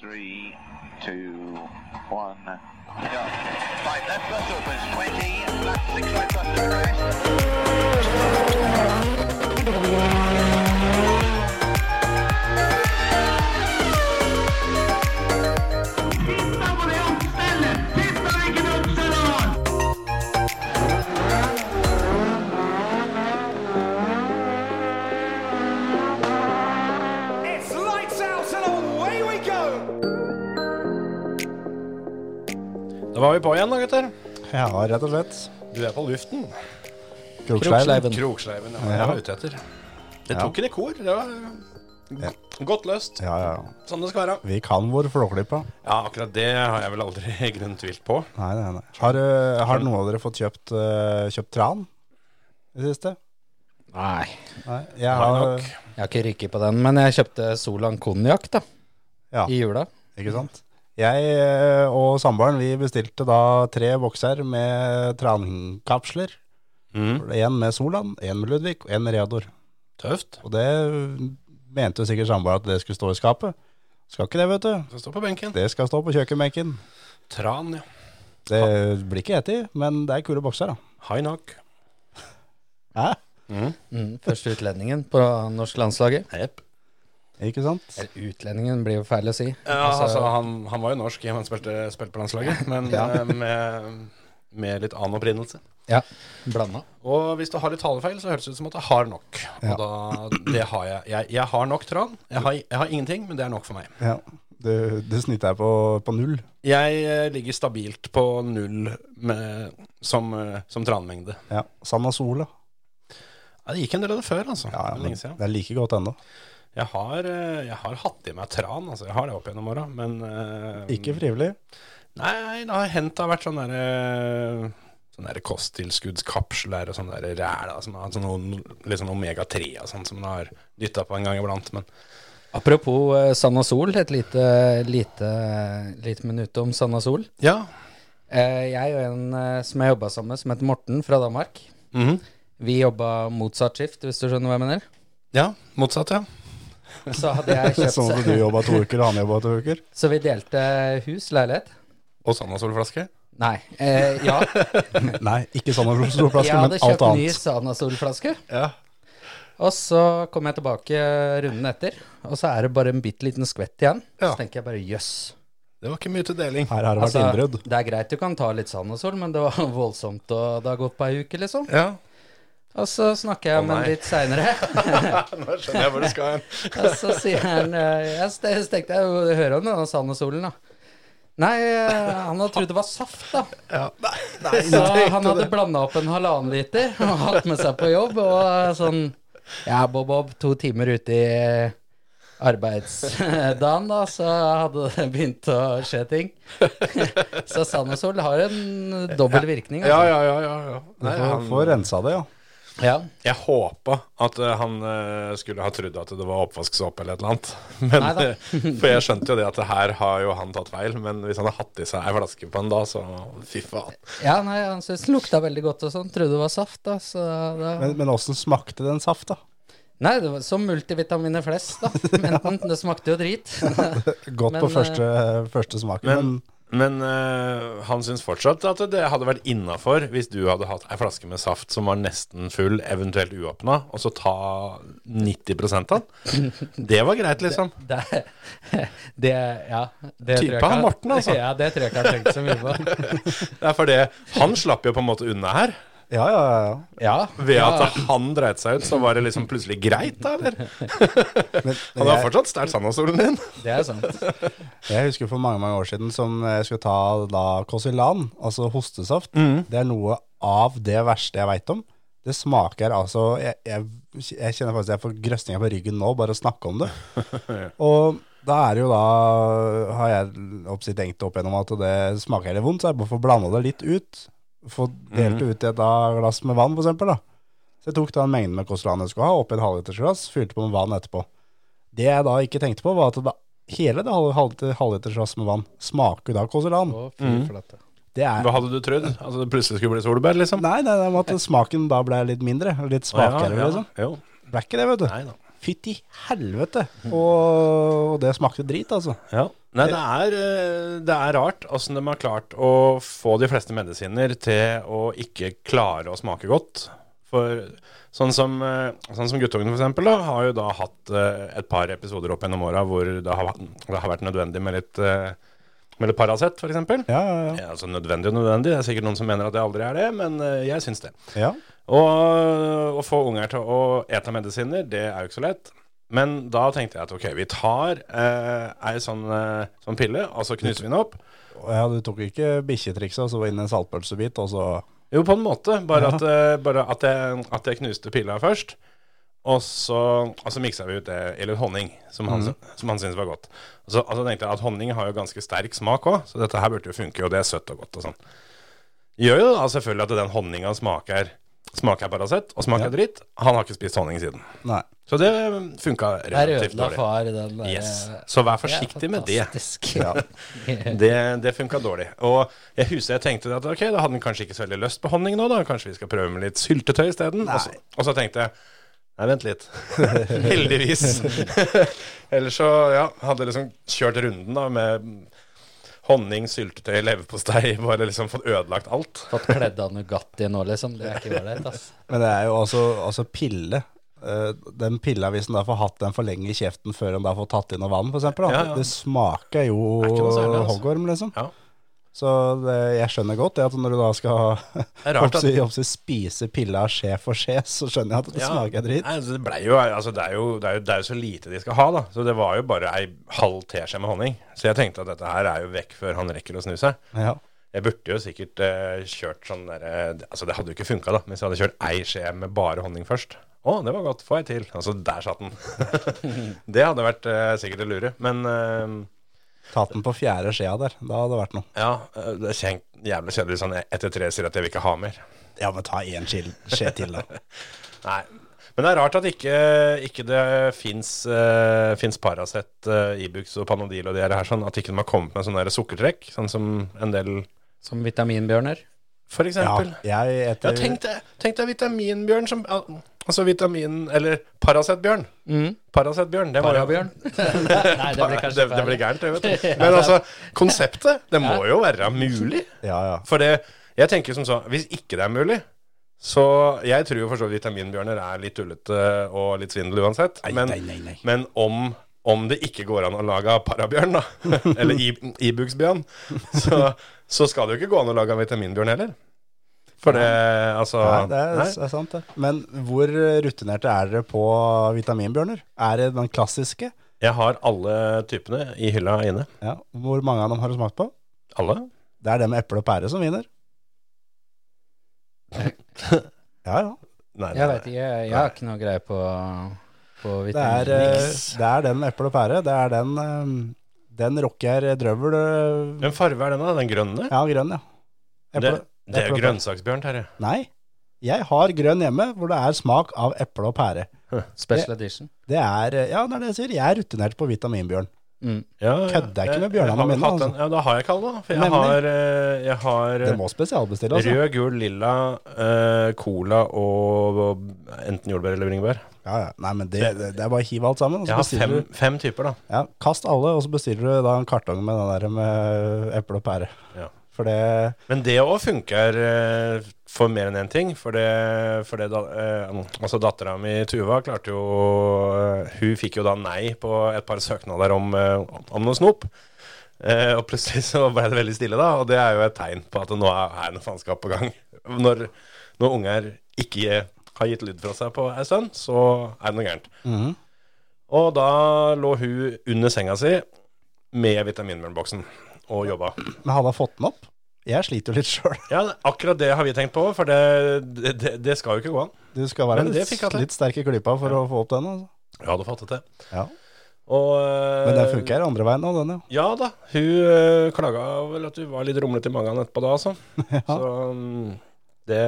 three, two, one, go. Five left bus opens, 20, left six right bus to rest. It's lights out and away we go! Da var vi på igjen, da, gutter. Ja, rett og slett. Du er på luften. Kroksleiven. Kroksleiven, ja. Jeg var ute etter. Det Ja. tok en i kor. Det var Ja. godt løst. Ja, ja. Sånn det skal være. Vi kan vår flåklypa. Ja, akkurat det har jeg vel aldri i grunnen tvilt på. Nei, nei, nei. Har, eh, har noen av dere fått kjøpt, eh, kjøpt tran i det siste? Nei, Nei. Jeg Har har, nok. jeg har ikke rykket på den, men jeg kjøpte Solan konjakk da, ja, i jula. ikke sant? Jeg eh, og samboeren vi bestilte da tre bokser med trankapsler. Mm. En med Solan, en med Ludvig og en med Reodor. Tøft. Og det mente jo sikkert samboeren at det skulle stå i skapet. Skal ikke det, vet du. Skal stå på benken. Det skal stå på kjøkkenbenken. Tran, ja. Det blir ikke ett i, men det er kule bokser, da. High knock. Hæ? Mm, første utlendingen på norsk landslaget. Jepp. Ikke sant? Eller utlendingen blir jo feil å si. Ja, altså, Altså- han, han var jo norsk, ja, han spilte, spilte på landslaget, men Ja. eh, med, med litt annen opprinnelse. Ja, blanda. Og hvis du har litt talefeil, så høres det ut som at jeg har nok. Og Ja. da, det har jeg. jeg. Jeg har nok tran. Jeg har, jeg har ingenting, men det er nok for meg. Ja. Du, du snitter deg på, på null. Jeg eh, ligger stabilt på null med, som, eh, som tranmengde. Ja. Sanna Sola. Ja, det gikk en del av det før, altså. Ja, Det er men lenge siden. det er like godt ennå. Jeg har, eh, jeg har hatt i meg tran, altså. Jeg har det opp gjennom åra, men eh, Ikke frivillig. Nei, det har hendt det har vært sånn derre Sånn der kosttilskuddskapsler og sånn der ræl da, som har sånn noen- litt sånn omega-3 og sånn som man har dytta på en gang iblant. Men Apropos eh, Sanna Sol, et lite, lite, lite minutt om Sanna Sol. ja. Eh, jeg og en eh, som jeg jobba sammen med, som heter Morten fra Danmark. mhm. Vi jobba motsatt skift, hvis du skjønner hva jeg mener. ja. Motsatt, ja. Så hadde jeg kjøpt Sånn at du jobba to uker, og han jobba to uker. Så vi delte hus, leilighet. Og Sandasolflaske. Nei. Eh, ja. Nei, ikke sånn av Jeg flaske, men hadde alt kjøpt ny annet. Sanna Sol-flaske. Ja. Og så kom jeg tilbake runden etter, og så er det bare en bitte liten skvett igjen. Ja. Så tenker jeg bare jøss. Altså, Det var ikke mye til deling. Her har det vært innbrudd. det er greit du kan ta litt sand og sol, men det var voldsomt, og det har gått på ei uke, liksom. Ja. Og så snakker jeg Å, nei. med han litt seinere, Nå skjønner jeg hvor du skal hen. og så sier han eh, Jeg ste- så tenkte jeg jo hører om denne sand og solen, da. Nei, eh, han hadde trodd det var saft, da. Ja. Nei, nei, Så han hadde blanda opp en halvannen liter og hatt med seg på jobb, og eh, sånn Ja, Bob Bob, to timer ute i eh, arbeidsdagen, da, så hadde det begynt å skje ting. Så sand og sol har en dobbel virkning. Ja, Altså. ja, ja. ja, ja. Du Nei, får, får rensa det, ja. Ja. Jeg håpa at eh, han eh, skulle ha trodd at det var oppvasksåpe eller et eller annet. Men, Neida. eh, for jeg skjønte jo det at det her har jo han tatt feil, men hvis han har hatt i seg ei flaske på en dag, så fy faen. ja, nei, han syntes den lukta veldig godt og sånn. Trodde det var saft, da. Så da Men, men åssen smakte den safta? Nei, det var som multivitaminer flest, da. Men det smakte jo drit. Godt Men, på eh, første, første smaken, men, Men, men eh, han syns fortsatt at det hadde vært innafor hvis du hadde hatt ei flaske med saft som var nesten full, eventuelt uåpna, og så ta 90 av den. Det var greit, liksom. Det, det, ja, Type det tror jeg ikke han Morten, altså. Ja, det tror jeg ikke han tenkte så mye på. Det er fordi han slapp jo på en måte unna her. Ja, ja, ja. Ja. Ved at han dreit seg ut, så var det liksom plutselig greit, da, eller? Men, Han har jeg, fortsatt stjålet sandastolen din. Det er sant. jeg husker for mange mange år siden som jeg skulle ta da Kosilan, altså hostesaft. Mm. Det er noe av det verste jeg veit om. Det smaker altså Jeg, jeg, jeg kjenner faktisk jeg får grøsninger på ryggen nå bare å snakke om det. Og da er det jo da Har jeg oppsi tenkt opp gjennom at det smaker litt vondt, så jeg bare får blanda det litt ut. Få delt Mhm. det ut i et da glass med vann, for eksempel. Da. Så jeg tok da en mengde med Kosilan jeg skulle ha, oppi et halvlitersglass, fylte på med vann etterpå. Det jeg da ikke tenkte på, var at da, hele det halv- halv- halvlitersglass med vann smaker da Kosilan. Å, fy Mm. flate. Det er Hva hadde du trodd? Altså det plutselig skulle bli solbær, liksom? Nei, nei, det var at smaken da ble litt mindre. Litt svakere, ja, liksom. Jo. Ble ikke det, vet du. Nei da. Fytti helvete! Og, og det smakte drit, altså. Ja. Nei, det er, eh, det er rart åssen de har klart å få de fleste medisiner til å ikke klare å smake godt. For sånn som, eh, sånn som Guttungen for eksempel, da, har jo da hatt eh, et par episoder opp gjennom åra hvor det har, vært- det har vært nødvendig med litt, eh, med litt Paracet, f.eks. Ja, ja, ja. Ja, altså nødvendig og nødvendig. Det er sikkert noen som mener at det aldri er det, men eh, jeg syns det. ja. Og å få unger til å ete medisiner, det er jo ikke så lett. Men da tenkte jeg at ok, vi tar eh, ei sånn, eh, sånn pille, og så knuser vi den opp. Og ja du tok ikke bikkjetrikset og så inn en saltpølsebit, og så Jo, på en måte. Bare, Ja. at, eh, bare at, jeg, at jeg knuste pilla først. Og så, og så miksa vi ut det i litt honning, som han, som han syntes var godt. Og så og så tenkte jeg at honning har jo ganske sterk smak òg, så dette her burde jo funke, og det er søtt og godt og sånn. Gjør jo da selvfølgelig at den honninga smaker, smaker Paracet, og smaker dritt. Han har ikke spist honning siden. Nei. Så det funka Der relativt ødela dårlig. far den der, Yes. eh, Så vær forsiktig med det. fantastisk. Ja. Det, det funka dårlig. Og jeg husker jeg tenkte at ok, da hadde han kanskje ikke så veldig lyst på honning nå, da. Kanskje vi skal prøve med litt syltetøy isteden. Og, så- og så tenkte jeg nei, vent litt. Heldigvis. Ellers så, ja, hadde liksom kjørt runden da med honning, syltetøy, leverpostei. Bare liksom fått ødelagt alt. Fått kledd av Nugatti nå, liksom. Det er ikke ålreit, ass. Men det er jo altså, altså pille. Eh, Den pilla, hvis den da får hatt den for lenge i kjeften før den da får tatt i noe vann, f.eks. Ja, ja. Det smaker jo Det er ikke noe særlig, altså. hoggorm, liksom. Ja. Så det, jeg skjønner godt det at når du da skal er rart oppsi, oppsi, spise pilla skje for skje, så skjønner jeg at det smaker dritt. Nei, altså, det, ble jo, altså, det, er jo, det, er jo, det er jo så lite de skal ha, da. Så det var jo bare ei halv teskje med honning. Så jeg tenkte at dette her er jo vekk før han rekker å snu seg. Ja. Jeg burde jo sikkert eh, kjørt sånn derre Altså, det hadde jo ikke funka, da, hvis jeg hadde kjørt ei skje med bare honning først. Å, det var godt. Få ei til. Altså, der satt den. det hadde vært eh, sikkert det lure. Men eh, Tatt den på fjerde skjea der. Da hadde det vært noe. ja, eh, det er kjenk, jævlig kjedelig sånn etter tre sier at jeg vil ikke ha mer. Ja, men ta én skje, skje til, da. Nei. Men det er rart at ikke, ikke det fins Paracet, eh, Ibux og Panodil og de her her, sånn, at ikke de har kommet med sånne der sukkertrekk, sånn som en del Som vitaminbjørner. For Ja, eksempel. Ja, jeg etter tenk deg- tenk deg vitaminbjørn som al- Altså vitamin Eller Paracet-bjørn. Paracet-bjørn. Det, var jo- Mm. Parabjørn. Nei, det blir Para- kanskje det, det blir feil. gærent, det, vet du. Men altså, konseptet, det må jo være mulig. Ja, ja. For det, jeg tenker som så, hvis ikke det er mulig så jeg tror jo for så vidt vitaminbjørner er litt tullete og litt svindel uansett. Men, nei, nei, nei. men om, om det ikke går an å lage parabjørn, da, eller i- Ibuksbjørn, så, så skal det jo ikke gå an å lage vitaminbjørn heller. For det, altså Nei, det er, nei. det er sant, det. Men hvor eh, rutinerte er dere på vitaminbjørner? Er det den klassiske? Jeg har alle typene i hylla inne. Ja. Hvor mange av dem har du smakt på? Alle? Det er det med eple og pære som vinner. Ja, ja. Nei, Jeg nei. vet ikke, jeg, jeg har ikke noe greie på, på Det er, vitaminer. eh, det er den med eple og pære. Det er den eh, Den rocker drøvel eh, Hvilken farge er den, da? Den grønne? Ja, grønn, ja. det, Eple, det er eple- jo grønnsaksbjørn, Terje. nei. Jeg har grønn hjemme hvor det er smak av eple og pære. Special edition. eh, Det er eh, Ja, det er det jeg sier. Jeg er rutinert på vitaminbjørn. Mm. Ja, Kødder jeg ikke med bjørnene har vel mine, hatt altså? den. Ja, da har jeg ikke alle, da. For jeg Nemlig. har, eh, jeg har Det eh, må spesialbestille, altså. rød, gul, lilla, eh, cola og, og enten jordbær eller bringebær. Ja, ja. Nei, men det, det, det er bare å hive alt sammen. Jeg Og så har bestiller fem, du fem typer, da. ja, Kast alle, og så bestiller du da en kartong med den der med eple og pære. Ja. For det Men det òg funker eh, for mer enn én ting. For det, for det da, eh, altså dattera mi Tuva klarte jo eh, Hun fikk jo da nei på et par søknader om, eh, om noe snop. Eh, og plutselig så ble det veldig stille, da. Og det er jo et tegn på at nå er er noe faenskap på gang. Når, når unger ikke har gitt lyd fra seg på ei stund, så er det noe gærent. Mhm. Og da lå hun under senga si med vitaminmjølboksen og jobba. Men hadde jeg fått den opp? Jeg sliter jo litt sjøl. Ja, akkurat det har vi tenkt på, for det, det, det- det skal jo ikke gå an. Du skal være Men det litt, fikk jeg til. litt sterk i klypa for å få opp den. Altså. Vi hadde fattet det. Ja. Og, eh, Men den funker andre veien nå, den, ja. Ja da. Hun eh, klaga vel at hun var litt rumlete i magen etterpå da, altså. Så mm, det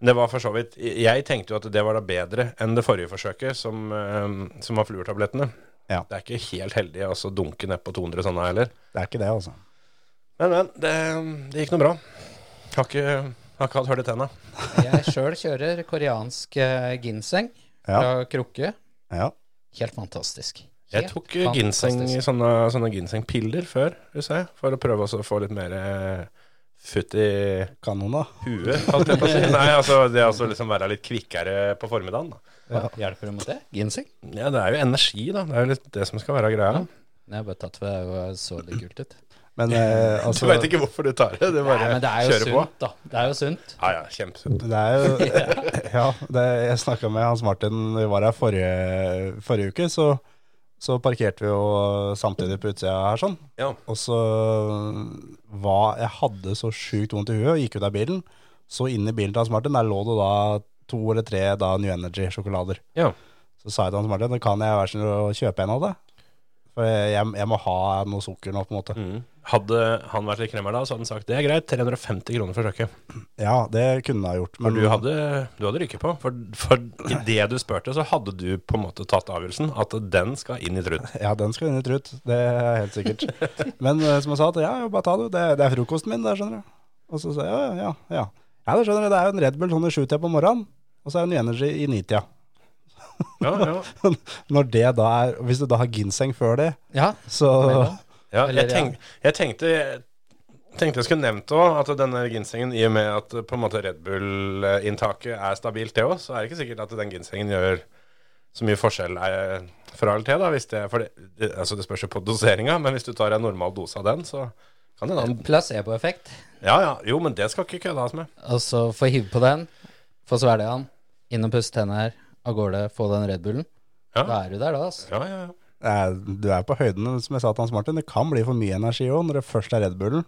men det var for så vidt Jeg tenkte jo at det var da bedre enn det forrige forsøket, som, eh, som var fluortablettene. Ja. Det er ikke helt heldig å altså, dunke nedpå 200 sånne heller. Det er ikke det, altså. Men, men. Det, mm, det gikk nå bra. Har ikke, har ikke hatt hull i tenna. Jeg sjøl kjører koreansk eh, ginseng Ja. fra krukke. Ja. Helt fantastisk. Jeg Helt tok eh, ginseng, fantastisk. sånne, sånne ginsengpiller før, husker jeg, for å prøve også å få litt mer eh, futt i Kanon, da. huet, holdt jeg på å si. Nei, altså det å liksom være litt kvikkere på formiddagen. Da. Hjelper det mot det? Ginseng? Ja, det er jo energi, da. Det er jo litt det som skal være greia. Nei, jeg har bare tatt for det jo- så litt kult ut. Men eh, Du altså veit ikke hvorfor du tar det, du Nei, bare men det er jo kjører på. sunt, da. Det er jo sunt. Ja, ja, kjempesunt. Det er jo Ja, det, jeg snakka med Hans Martin vi var her forrige, forrige uke, så, så parkerte vi jo samtidig på utsida her sånn. Ja. Og så var Jeg hadde så sjukt vondt i huet og gikk ut av bilen. Så inn i bilen til Hans Martin, der lå det da to eller tre da New Energy-sjokolader. ja. Så sa jeg til Hans Martin, "Da kan jeg være så snill å kjøpe en av det? For jeg, jeg må ha noe sukker nå, på en måte. Mm. Hadde han vært litt kremmer da, så hadde han sagt det er greit, 350 kroner for søket. Ja, det kunne jeg ha gjort. For du hadde, du hadde ryket på. For, for idet du spurte, så hadde du på en måte tatt avgjørelsen at den skal inn i truten. Ja, den skal inn i trut. Det er helt sikkert. Men eh, som jeg sa, at ja, jo, bare ta det. Det, det er frokosten min, det skjønner du. Og så sa jeg ja, ja, ja. Ja, det skjønner du. Det er jo en Red Bull sånn i sjutida på morgenen, og så er det en Energy i nitida. Ja, ja. Når det da er Hvis du da har ginseng før det, Ja. så Ja, Eller, jeg, tenk, jeg tenkte tenkte jeg skulle nevnt òg at denne ginsengen, i og med at eh, på en måte Red Bull-inntaket er stabilt, det òg, så er det ikke sikkert at den ginsengen gjør så mye forskjell eh, fra eller til. da, hvis det, for det, det, altså det spørs jo på doseringa, men hvis du tar en normal dose av den, så kan det da Placeboeffekt. Ja ja, jo, men det skal ikke køddes med. Og så få hive på den, få svelge den, inn og pusse tenna her, av gårde, få den Red Bullen. Ja. Da er du der, da, altså. Ja, ja, ja. eh, Du er på høyden, som jeg sa til Hans Martin. Det kan bli for mye energi òg, når det først er Red Bullen,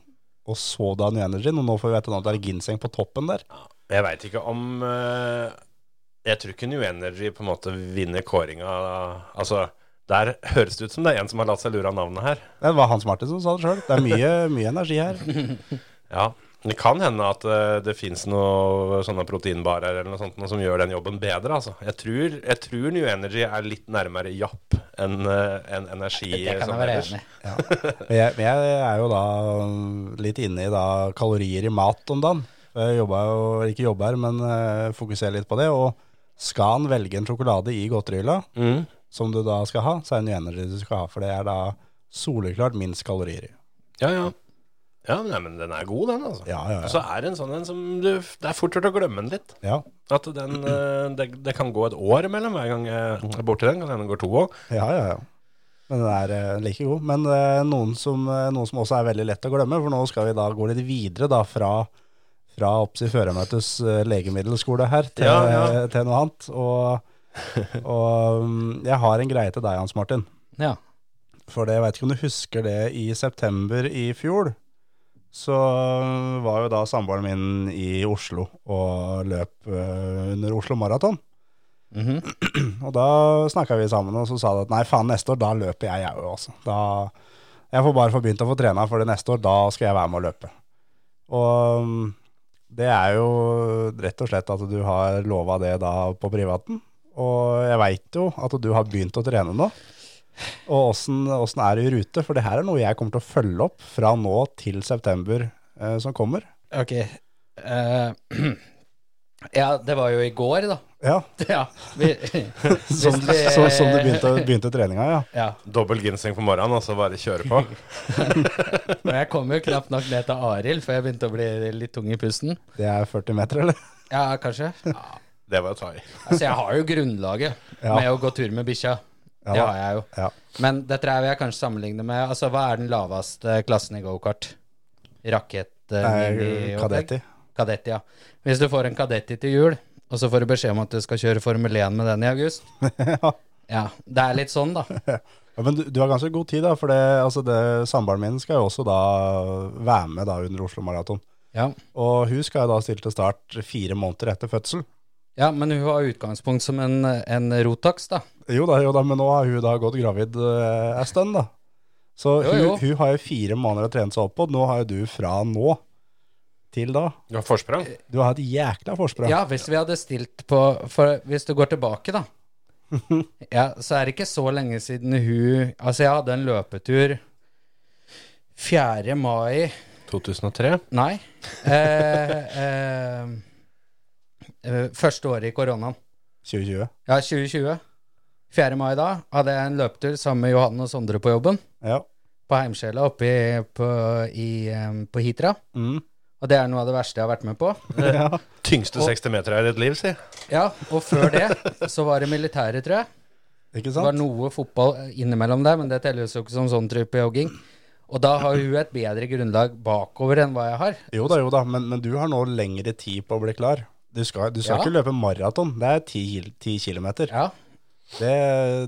og så da New Energy. Og nå får vi vite nå at det er ginseng på toppen der. Jeg veit ikke om eh, Jeg tror ikke New Energy på en måte vinner kåringa. Altså, der høres det ut som det er en som har latt seg lure av navnet her. Det var Hans Martin som sa det sjøl. Det er mye, mye energi her. Ja, det kan hende at eh, det finnes noen sånne proteinbarer eller noe sånt noe som gjør den jobben bedre, altså. Jeg tror, jeg tror New Energy er litt nærmere Japp enn eh, enn energi Det sånn kan som jeg være ellers. enig i. Men jeg, men jeg er jo da mm, litt inne i da kalorier i mat om dagen. Jeg jobber jo, eller ikke jobber, men eh, fokuserer litt på det. Og skal en velge en sjokolade i godterihylla, Mm. som du da skal ha, så er det New Energy du skal ha. For det er da soleklart minst kalorier i. Ja, ja. Ja, men, nei, men den er god, den, altså. Ja, ja, Og ja. så er det en sånn en som du Det er fort gjort å glemme den litt. Ja, At den eh, det, det kan gå et år imellom hver gang jeg er borti den. Kan hende det går to òg. ja, ja. ja. Men den er eh, like god. Men eh, noen, som, eh, noen som også er veldig lett å glemme, for nå skal vi da gå litt videre da fra fra Opsi Føremøtes eh, legemiddelskole her til, eh, Ja, ja. til noe annet. Og, og mm, jeg har en greie til deg, Hans Martin. Ja. For det, jeg vet ikke om du husker det, i september i fjor, så var jo da samboeren min i Oslo og løp eh, under Oslo Maraton. Mhm. Og da snakka vi sammen, og så sa det at nei, faen, neste år, da løper jeg, jeg òg, altså. Da, jeg får bare få begynt å få trena, for det neste år, da skal jeg være med å løpe. Og mm, det er jo rett og slett at du har lova det da på privaten. Og jeg veit jo at du har begynt å trene nå. Og åssen åssen er du i rute? For det her er noe jeg kommer til å følge opp fra nå til september eh, som kommer. Ok. Eh, ja, det var jo i går, da. Ja, Ja. Vi, Som, hvis vi- Sånn- så, som du begynte, begynte treninga, ja. Ja. Dobbel ginseng på morgenen, og så bare kjøre på. Men jeg kom jo knapt nok ned til Arild før jeg begynte å bli litt tung i pusten. Det er 40 meter, eller? Ja, kanskje. Det var å ta i. Altså, jeg har jo grunnlaget Ja. med å gå tur med bikkja. Ja Det da. har jeg jo. Ja. Men dette her vil jeg kanskje sammenligne med Altså, hva er den laveste klassen i gokart? Rakett? eh, Nei, mini- Kadetti. Kadett, ja. Hvis du får en Kadetti til jul, og så får du beskjed om at du skal kjøre Formel 1 med den i august Ja. Ja, det er litt sånn, da. Ja, men du, du har ganske god tid, da. For det, altså det, samboeren min skal jo også da være med da under Oslo Maraton. Ja. Og hun skal jo da stille til start fire måneder etter fødsel. ja, men hun har utgangspunkt som en, en Rotax, da. Jo da, jo da, men nå har hun da gått gravid eh, en stund, da. Så Jo, hun, jo. hun har jo fire måneder å trene seg opp på. Nå har jo du fra nå til da Du har forsprang. Eh. Du har et jækla forsprang. Ja, hvis vi hadde stilt på For hvis du går tilbake, da. Ja, så er det ikke så lenge siden hun Altså, jeg hadde en løpetur 4. mai 2003. Nei. Eh, eh, eh, første året i koronaen. 2020. Ja, 2020. 4. mai da hadde jeg en løpetur sammen med Johan og Sondre på jobben. Ja. På Heimsjela oppe i, på, i, eh, på Hitra. Mm. Og det er noe av det verste jeg har vært med på. Tyngste 60 meter jeg har i et liv, si. Ja, Og før det så var det militæret, tror jeg. Ikke Det var sant? noe fotball innimellom der, men det telles jo ikke som sånn type jogging. Og da har hun et bedre grunnlag bakover enn hva jeg har. Jo da, jo da, men, men du har nå lengre tid på å bli klar. Du skal, du skal Ja. ikke løpe maraton. Det er ti, kil- ti kilometer. Ja. Det,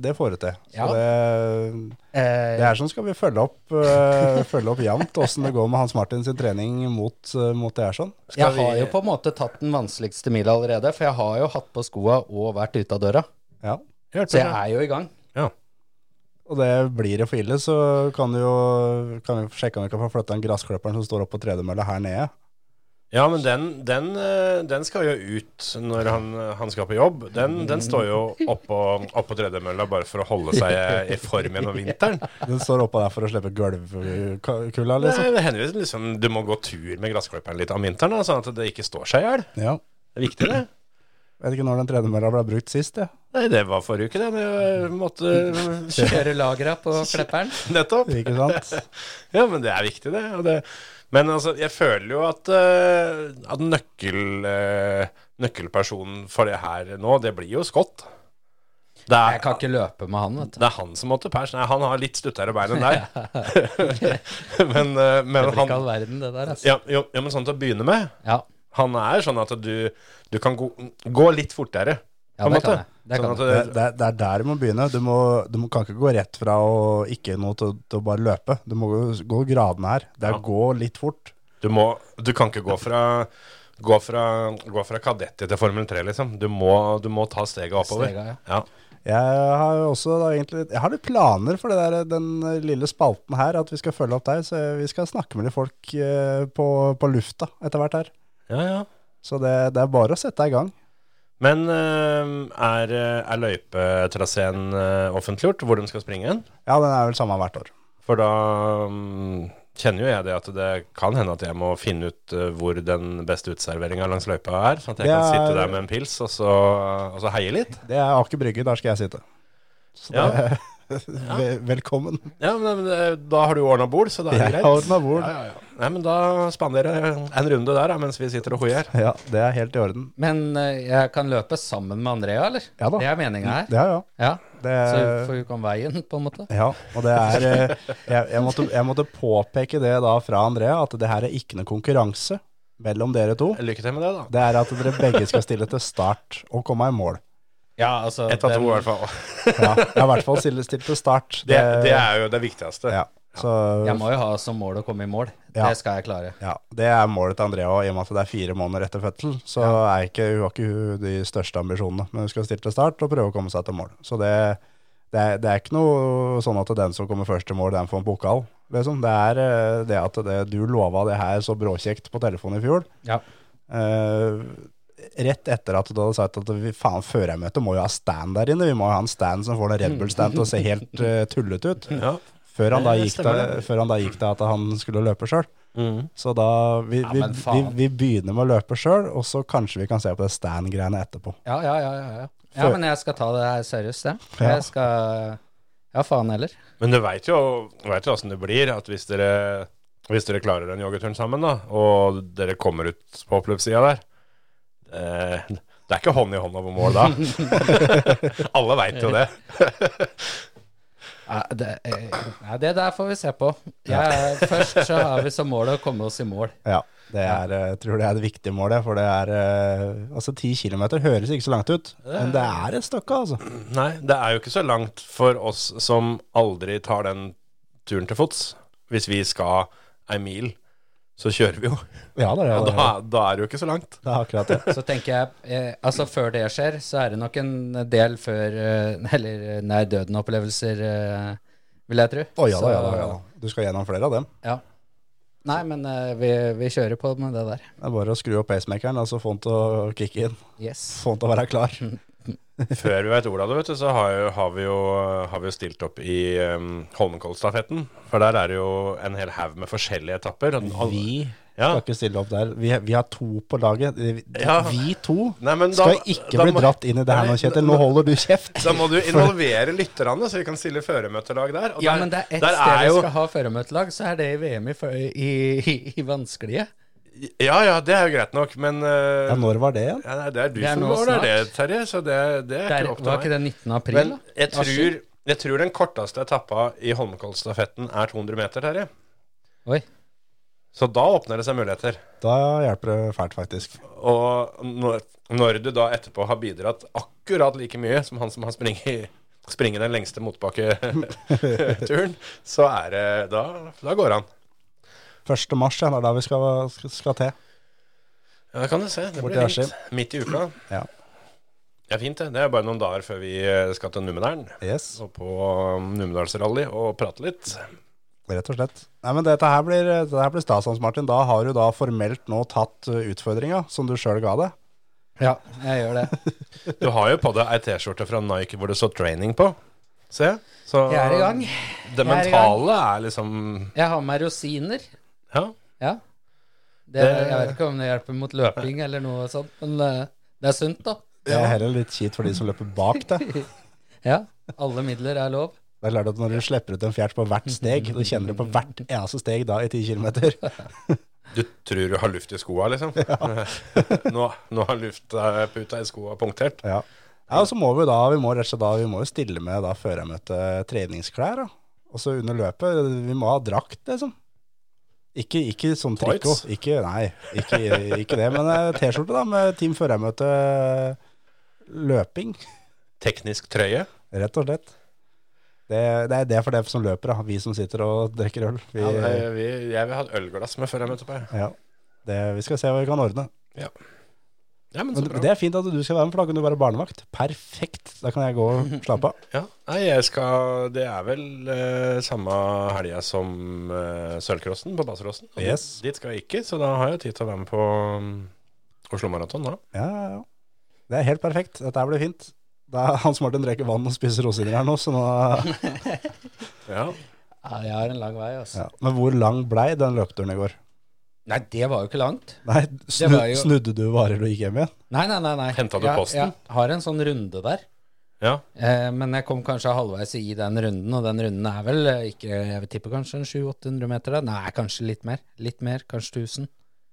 det får du til. Så Ja. det, Eh, det er sånn skal vi følge opp, eh, følge opp jevnt åssen det går med Hans Martin sin trening mot, eh, mot det her sånn. jeg har jo på en måte tatt den vanskeligste mila allerede, for jeg har jo hatt på skoa og vært ute av døra. Ja. Så jeg er jo i gang. Ja. Og det blir det for ille, så kan du jo kan vi sjekke om vi kan få flytta den gressklipperen som står oppe på tredemølla her nede. Ja, men den, den, eh, den skal jo ut når han, han skal på jobb. Den, den står jo oppå, oppå tredemølla bare for å holde seg i form gjennom vinteren. Den står oppå der for å slippe gulvkulla, Det liksom. er henvis liksom Du må gå tur med gressklipperen litt om vinteren, da, sånn at det ikke står seg i hjel. Ja. Det er viktig, det. Vet ikke når den tredemølla ble brukt sist, jeg. Nei, det var forrige uke, det. Det måtte Kjøre lagra på Klepperen. Nettopp. Ikke sant? Ja, men det er viktig, det. Og det men altså, jeg føler jo at, eh, at nøkkel, eh, nøkkelpersonen for det her nå, det blir jo Scott. Det Jeg kan er, ikke løpe med han, vet du. det er han som måtte pers. Nei, han har litt stuttere bein enn deg. men, eh, Det men blir ikke all han verden, det der, altså. ja, jo, ja, men sånn til å begynne med. Ja, Han er sånn at du, du kan gå, gå litt fortere, på ja en det kan måte. jeg. Det Sånn kan jeg. Det, at det- det, det er der du må begynne. Du, må, du må, kan ikke gå rett fra å ikke noe til, til å bare løpe. Du må gå- gå gradene her. Det er Ja. gå litt fort. Du, må, du kan ikke gå fra Gå fra, gå fra kadett til Formel 3, liksom. Du må, du må ta steget oppover. Stega, ja. Ja. Jeg har jo også da egentlig Jeg har litt planer for det der, den lille spalten her, at vi skal følge opp deg. Så vi skal snakke med litt folk eh, på, på lufta etter hvert her. Ja, ja. Så det, det er bare å sette deg i gang. Men eh, er, er løypetraseen eh, offentliggjort, hvor de skal springe hen? Ja, den er vel samme hvert år. For da mm, kjenner jo jeg det at det kan hende at jeg må finne ut eh, hvor den beste uteserveringa langs løypa er, sånn at jeg Det kan er- sitte der med en pils og så, og så heie litt. Det er Aker Brygge, der skal jeg sitte. Så Ja. det, Vel- velkommen. Ja, men eh, da har du ordna bord, så da er det Jeg har greit. ordna bord. Ja, ja, ja. Nei, men da spanderer jeg en runde der da, mens vi sitter og hoier. Ja, det er helt i orden. Men eh, jeg kan løpe sammen med Andrea, eller? Ja da. Det er meninga her. Ja, ja. Ja. Det, Så Eh, får hun kan veien, på en måte. ja, og det er eh, jeg, jeg, måtte, jeg måtte påpeke det da fra Andrea, at det her er ikke noe konkurranse mellom dere to. Lykke til med det, da. Det er at dere begge skal stille til start og komme i mål. Ja, altså Ett av den- to, i hvert fall. Ja, jeg har i hvert fall stilt, stilt til start. Det, det er jo det viktigste. ja, så, Jeg må jo ha som mål å komme i mål. Ja. Det skal jeg klare. ja, det er målet til Andrea, og i og med at det er fire måneder etter fødsel, så er ikke, hun har ikke hun de største ambisjonene. Men hun skal stille til start og prøve å komme seg til mål. Så det, det, er, det er ikke noe sånn at den som kommer først til mål, den får en pokal. Liksom. Det er eh, det at det, du lova det her så bråkjekt på telefonen i fjor. Ja. Eh, rett etter at du hadde sagt at vi, faen, før jeg møter må jo ha stand der inne. Vi må jo ha en stand som får den Red Bull-stand til å se helt eh, tullete ut. Ja. Før han, da Det gikk til, stemmer, det. før han da gikk til at han skulle løpe sjøl. Mhm. Så da vi, vi, men vi, faen. vi begynner med å løpe sjøl, og så kanskje vi kan se på det stand-greiene etterpå. Ja, ja, ja, ja, ja. ja Før- men jeg skal ta det her seriøst, jeg. Ja. Jeg skal Ja, faen heller. Men du veit jo vet jo åssen det blir. At hvis dere, hvis dere klarer den joggeturen sammen, da, og dere kommer ut på oppløpssida der eh, Det er ikke hånd i hånd over mål da. Alle veit jo det. Nei, det, eh, nei, det der får vi se på. Jeg, først så har vi som mål å komme oss i mål. Ja, det er, eh, jeg tror det er det viktige målet, for det er eh, Altså, ti kilometer høres ikke så langt ut, men det er et stykke, altså. Nei, det er jo ikke så langt for oss som aldri tar den turen til fots. Hvis vi skal ei mil, så kjører vi jo. Ja, det er, Og det, da, er, da er det jo ikke så langt. det er akkurat det. Så tenker jeg eh, Altså, før det skjer, så er det nok en del før eh, Eller eh, nær døden-opplevelser, eh, vil jeg tro. Å ja da, ja da. Så- Ja. da. Du skal gjennom flere av dem. ja. Nei, men eh, vi, vi kjører på med det der. Det er bare å skru opp pacemakeren, og så få den til å kicke inn. Yes. Få den til å være klar. Før vi veit ordet av det, vet du, så har, jo, har, vi jo, har vi jo stilt opp i um, Holmenkollstafetten. For der er det jo en hel haug med forskjellige etapper. og- og- Vi Ja. Skal ikke stille opp der. Vi, vi har to på laget. Vi, Ja. vi to Nei, men da- skal ikke da bli må- dratt inn i det her Nei, nå, Kjetil. Nå holder du kjeft. Da må du involvere lytterne, så vi kan stille føremøtelag der. Og Ja, der- men det er ett der sted er jo- vi skal ha føremøtelag, så er det i VM i, fø- i, i, i vanskelige. Ja, ja, det er jo greit nok, men eh, Ja, når var det igjen? ja, nei, Det er du Det er som nå går der, snart. det, Terje. Så det, det er Der, ikke opp til var meg. ikke det 19. april, Men da? jeg tror, Asker? jeg tror den korteste etappa i Holmenkollstafetten er 200 meter, Terje. Oi. Så da åpner det seg muligheter. Da hjelper det fælt, faktisk. Og når, når du da etterpå har bidratt akkurat like mye som han som har springet springe den lengste motbakketuren, så er det Da, da går han. 1. mars ja, det er da vi skal, skal, skal til. Ja, det kan du se. Det Bort blir i fint. Askim. Midt i uka. Ja. Det er fint, det. Det er bare noen dager før vi eh, skal til Numedalen. Yes, Så på um, Numedalsrally og prate litt. rett og slett. Nei, men dette her blir, dette her blir stas, Hans Martin. Da har du da formelt nå tatt uh, utfordringa som du sjøl ga deg. Ja, jeg gjør det. Du har jo på deg ei T-skjorte fra Nike hvor det står 'training' på. Se. Så Jeg er i gang. det Jeg er i mentale er, liksom Jeg har med rosiner. Ja. Ja. Det, Det- jeg vet ikke om det hjelper mot løping eller noe sånt, men eh, det er sunt, da. Det er heller litt kjipt for de som løper bak deg. Ja. Alle midler er lov. Det er klart at Når du slipper ut en fjert på hvert steg, du kjenner det på hvert eneste steg da i 10 km. Du tror du har luft i skoa, liksom. nå, nå har luftputa i skoa punktert. Ja. ja, og så må vi da, vi må rett og slett da, vi må jo stille med da førermøte treningsklær da. Og så under løpet, vi må ha drakt liksom. Ikke, ikke sånn trikko, Tights? ikke, nei, ikke, ikke det, men eh, t-skjorte da med team førermøte løping, Teknisk trøye. rett og slett. Det, det er det for det som løper da, vi som sitter og drikker øl. Vi, Ja, ja, nei, vi, jeg vil ha et ølglass med før jeg møter på. jeg. det, vi skal se hva vi kan ordne. Ja. ja, men så Men bra. det er fint at du skal være med, for da kan du være barnevakt. Perfekt, da kan jeg gå og slappe av. Ja, nei, jeg skal Det er vel eh, samme helga som eh, Sølvcrossen på Baserossen. Og Yes. Dit skal jeg ikke, så da har jeg tid til å være med på mm, Oslo Maraton. da. Ja, ja, ja. Det er helt perfekt. Dette her blir fint. Da er Hans Martin drikker vann og spiser rosiner her nå, så nå Ja. Ja, jeg har en lang vei, ja. altså. Men hvor lang blei den løpeturen i går? Nei, det var jo ikke langt. Nei, snu, var jo- snudde du varer og gikk hjem igjen? Nei, nei, nei. nei. Hentet du Jeg- posten? Jeg har en sånn runde der. ja. Eh, men jeg kom kanskje halvveis i den runden, og den runden er vel eh, ikke Jeg vil tippe kanskje en 700-800 meter. Da. Nei, kanskje litt mer. Litt mer, kanskje 1000.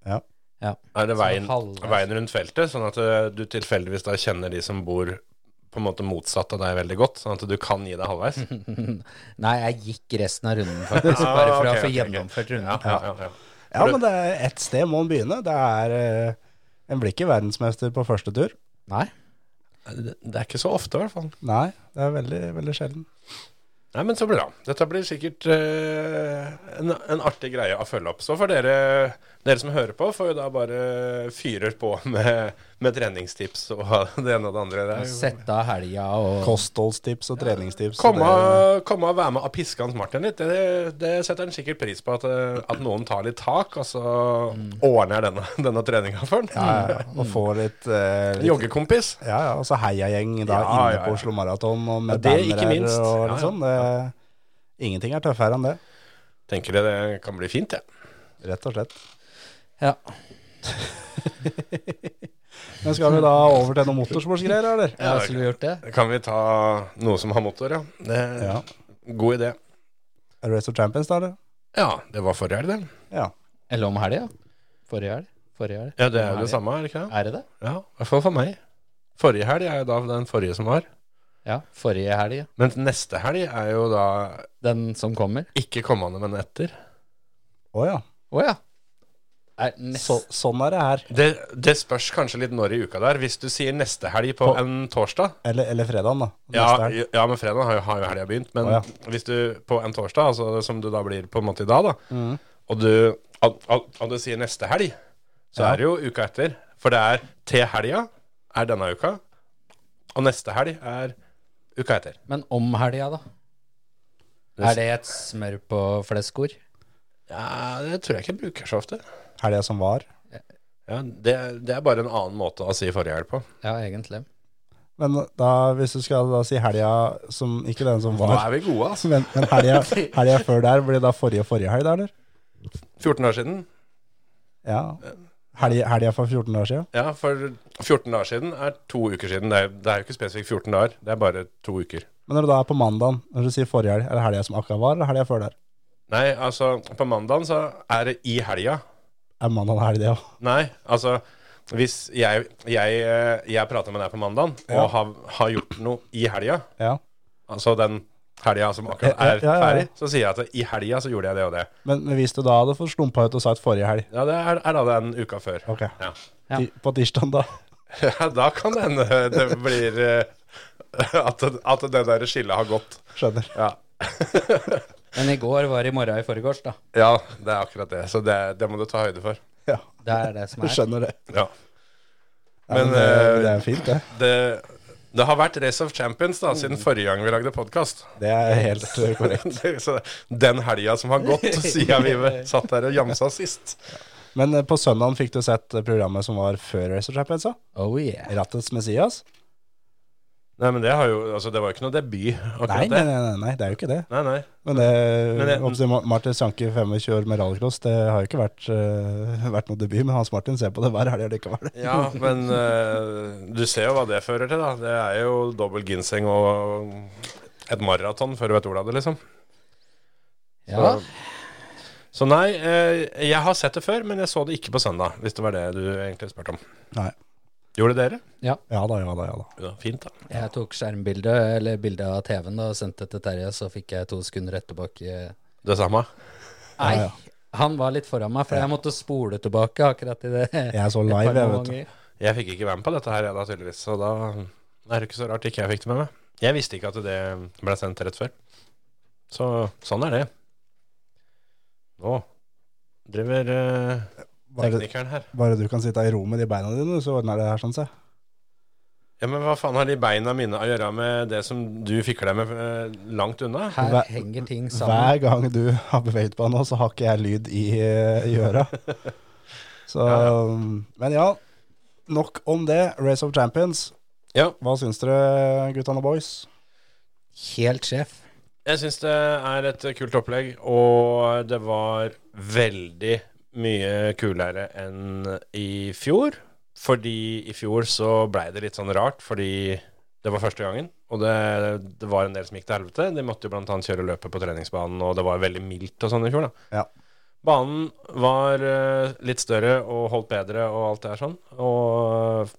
Ja. Ja. Er det veien, halvveis. veien rundt feltet, sånn at eh, du tilfeldigvis da kjenner de som bor på en måte motsatt av deg veldig godt, sånn at du kan gi deg halvveis? Nei, jeg gikk resten av runden, faktisk. Bare Ah, for å ok, ok, få ok. gjennomført runden. Ja, ja, ja, ja. Ja, men det er ett sted må en begynne. Det er eh, En blir ikke verdensmester på første tur. Nei. Det, det er ikke så ofte, i hvert fall. Nei, det er veldig, veldig sjelden. Nei, men så bra. Dette blir sikkert eh, en, en artig greie å følge opp. Så får dere, dere som hører på, får jo da bare fyrer på med, med treningstips og det ene og det andre. Det er jo- Sette av helga og Kostholdstips og treningstips. og Komme det- komme og være med og piske Hans Martin litt. Det, det setter han sikkert pris på, at, eh, at noen tar litt tak, og så ordner jeg denne, denne treninga for han. Mm. Ja, ja, og få litt, eh, En litt Joggekompis. Ja, ja, og så heiagjeng da Ja, inne ja, på ja. Oslo Maraton og med Ja, det ikke bannere minst. og Ja, litt ja. sånn. Det, ingenting er tøffere enn det, Tenker det, det kan bli fint, jeg. Ja. rett og slett. Ja. Men skal vi da over til noen motorsportsgreier, eller? ja, skulle vi gjort det? Kan vi ta noe som har motor, ja? Det, Ja. God idé. Race of Champions, da, eller? Ja, det var forrige helg, det. Ja. Eller om helga? Forrige helg? Forrige helg? Ja, det er jo Om det helga. samme, er det ikke det? Er det det? Ja, i hvert fall for meg. Forrige helg er jo da den forrige som var. Ja. Forrige helg. Men neste helg er jo da Den som kommer. ikke kommende, men etter. Å ja. Å ja. Er nest... Så, sånn er det her. Det, det spørs kanskje litt når i uka der. Hvis du sier neste helg på På- en torsdag Eller, eller fredagen, da. Ja, helg. ja men fredag har jo, har jo helga begynt. Men Å, hvis du på en torsdag, altså som du da blir på en måte i dag, da, Mm. og du, og, og, og du sier neste helg, så Ja. er det jo uka etter. For det er til helga er denne uka, og neste helg er uka etter. Men om helga, da? Er det et smør på fleskord? Ja, det tror jeg ikke jeg bruker så ofte. Helga som var. Ja, det, det er bare en annen måte å si forrige helg på. Ja, egentlig. Men da, hvis du skal da si helga som Ikke den som Nå var, er vi gode, altså. men, men helga, helga før der, blir det da forrige forrige helg, da, eller? 14 år siden. Ja. Helg- Helga for 14 dager siden. Ja, for 14 dager siden er to uker siden. Det er, det er jo ikke spesifikt 14 dager, det er bare to uker. Men når du da er på mandagen, når du sier forrige helg, er det helga som akkurat var, eller helga før der? Nei, altså, på mandagen så er det i helga. Er mandagen helg, det òg? Nei, altså, hvis jeg, jeg, eh, jeg prater med deg på mandagen Ja. og har, har gjort noe i helga, Ja. altså den helga som akkurat Ja, ja, er ja, ja. ferdig, så sier jeg at i helga så gjorde jeg det og det. Men, men hvis du da hadde fått slumpa ut og sagt forrige helg, Ja, det er, er da den uka før. Ok. Ja. Ja. ti- på tirsdag da Ja, da kan det hende det blir eh, at, at det der skillet har gått. Skjønner. Ja. Men i går var i morgen i forgårs, da. ja, det er akkurat det. Så det, det må du ta høyde for. Ja, Det er det som du er. skjønner det. Ja. Ja, Men, det, eh, det er fint, det. Det, det har vært Race of Champions da, siden forrige gang vi lagde podkast. Det er helt eh, korrekt. Så den helga som har gått, siden vi satt der og jamsa sist. Men eh, på søndagen fikk du sett eh, programmet som var før Racer Champions, da? Oh yeah. Rattets Messias? Nei, men det, har jo, altså, det var jo ikke noe debut. Nei, akkurat nei, det. nei, nei, nei, det er jo ikke det. Nei, nei. Men det, Men det- oppsett, Ma- Martin Sanke, 25 år med rallycross, det har jo ikke vært, eh, vært noe debut, men Hans Martin ser på det hver helg likevel. Ja, men eh, du ser jo hva det fører til, da. Det er jo dobbel ginseng og et maraton før du vet ordet av det, liksom. Ja. Så nei, eh, jeg har sett det før, men jeg så det ikke på søndag, hvis det var det du egentlig spurte om. Nei. Gjorde dere? Ja da, ja da, ja da. Ja, fint, da. Jeg tok skjermbilde, eller bilde av TV-en, da, og sendte det til Terje, så fikk jeg to sekunder etterbakke. Det samme. Nei, Ja, ja. han var litt foran meg, for jeg måtte spole tilbake akkurat i det. Jeg så et par live, jeg, vet du. ganger. Jeg fikk ikke være med på dette her, jeg da, tydeligvis. Så da er det ikke så rart ikke jeg fikk det med meg. Jeg visste ikke at det ble sendt rett før. Så sånn er det. Nå driver eh, Bare, teknikeren her. bare du kan sitte i ro med de beina dine, så ordner det her sånn seg. Ja, Men hva faen har de beina mine å gjøre med det som du fikler deg med eh, langt unna? Her Hver- henger ting sammen. Hver gang du har beveget på nå, så har ikke jeg lyd i, i øra. Så, men ja, nok om det. Race of Champions. Ja. Hva syns dere, guttene og boys? Helt sjef. Jeg syns det er et kult opplegg, og det var veldig mye kulere enn i fjor. Fordi i fjor så blei det litt sånn rart, fordi det var første gangen. Og det, det var en del som gikk til helvete. De måtte jo bl.a. kjøre løpet på treningsbanen, og det var veldig mildt og sånn i fjor, da. Ja. Banen var eh, litt større og holdt bedre og alt det her sånn. Og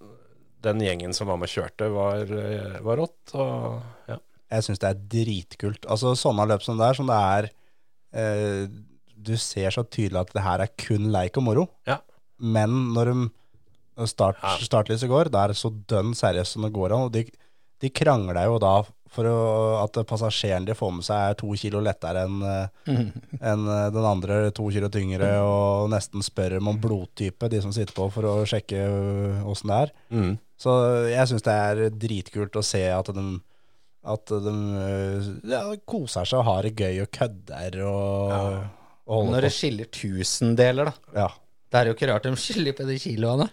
den gjengen som var med og kjørte, var, eh, var rått. Og ja. Jeg syns det er dritkult. Altså sånne løp som det er, som det er eh, Du ser så tydelig at det her er kun leik og moro. Ja. Men når de når start, Ja. startlyset går, det er så dønn seriøst som det går an. Og de, de krangler jo da for å, at passasjeren de får med seg er to kilo lettere enn eh, enn eh, den andre, to kilo tyngre, og nesten spør om blodtype, de som sitter på, for å sjekke eh, åssen det er. Mm. Så eh, jeg syns det er dritkult å se at de, at de øh, ja, koser seg og har det gøy og kødder og, og Når holder det skiller tusendeler, da. på. Ja. Det er jo ikke rart de skiller på de kiloene.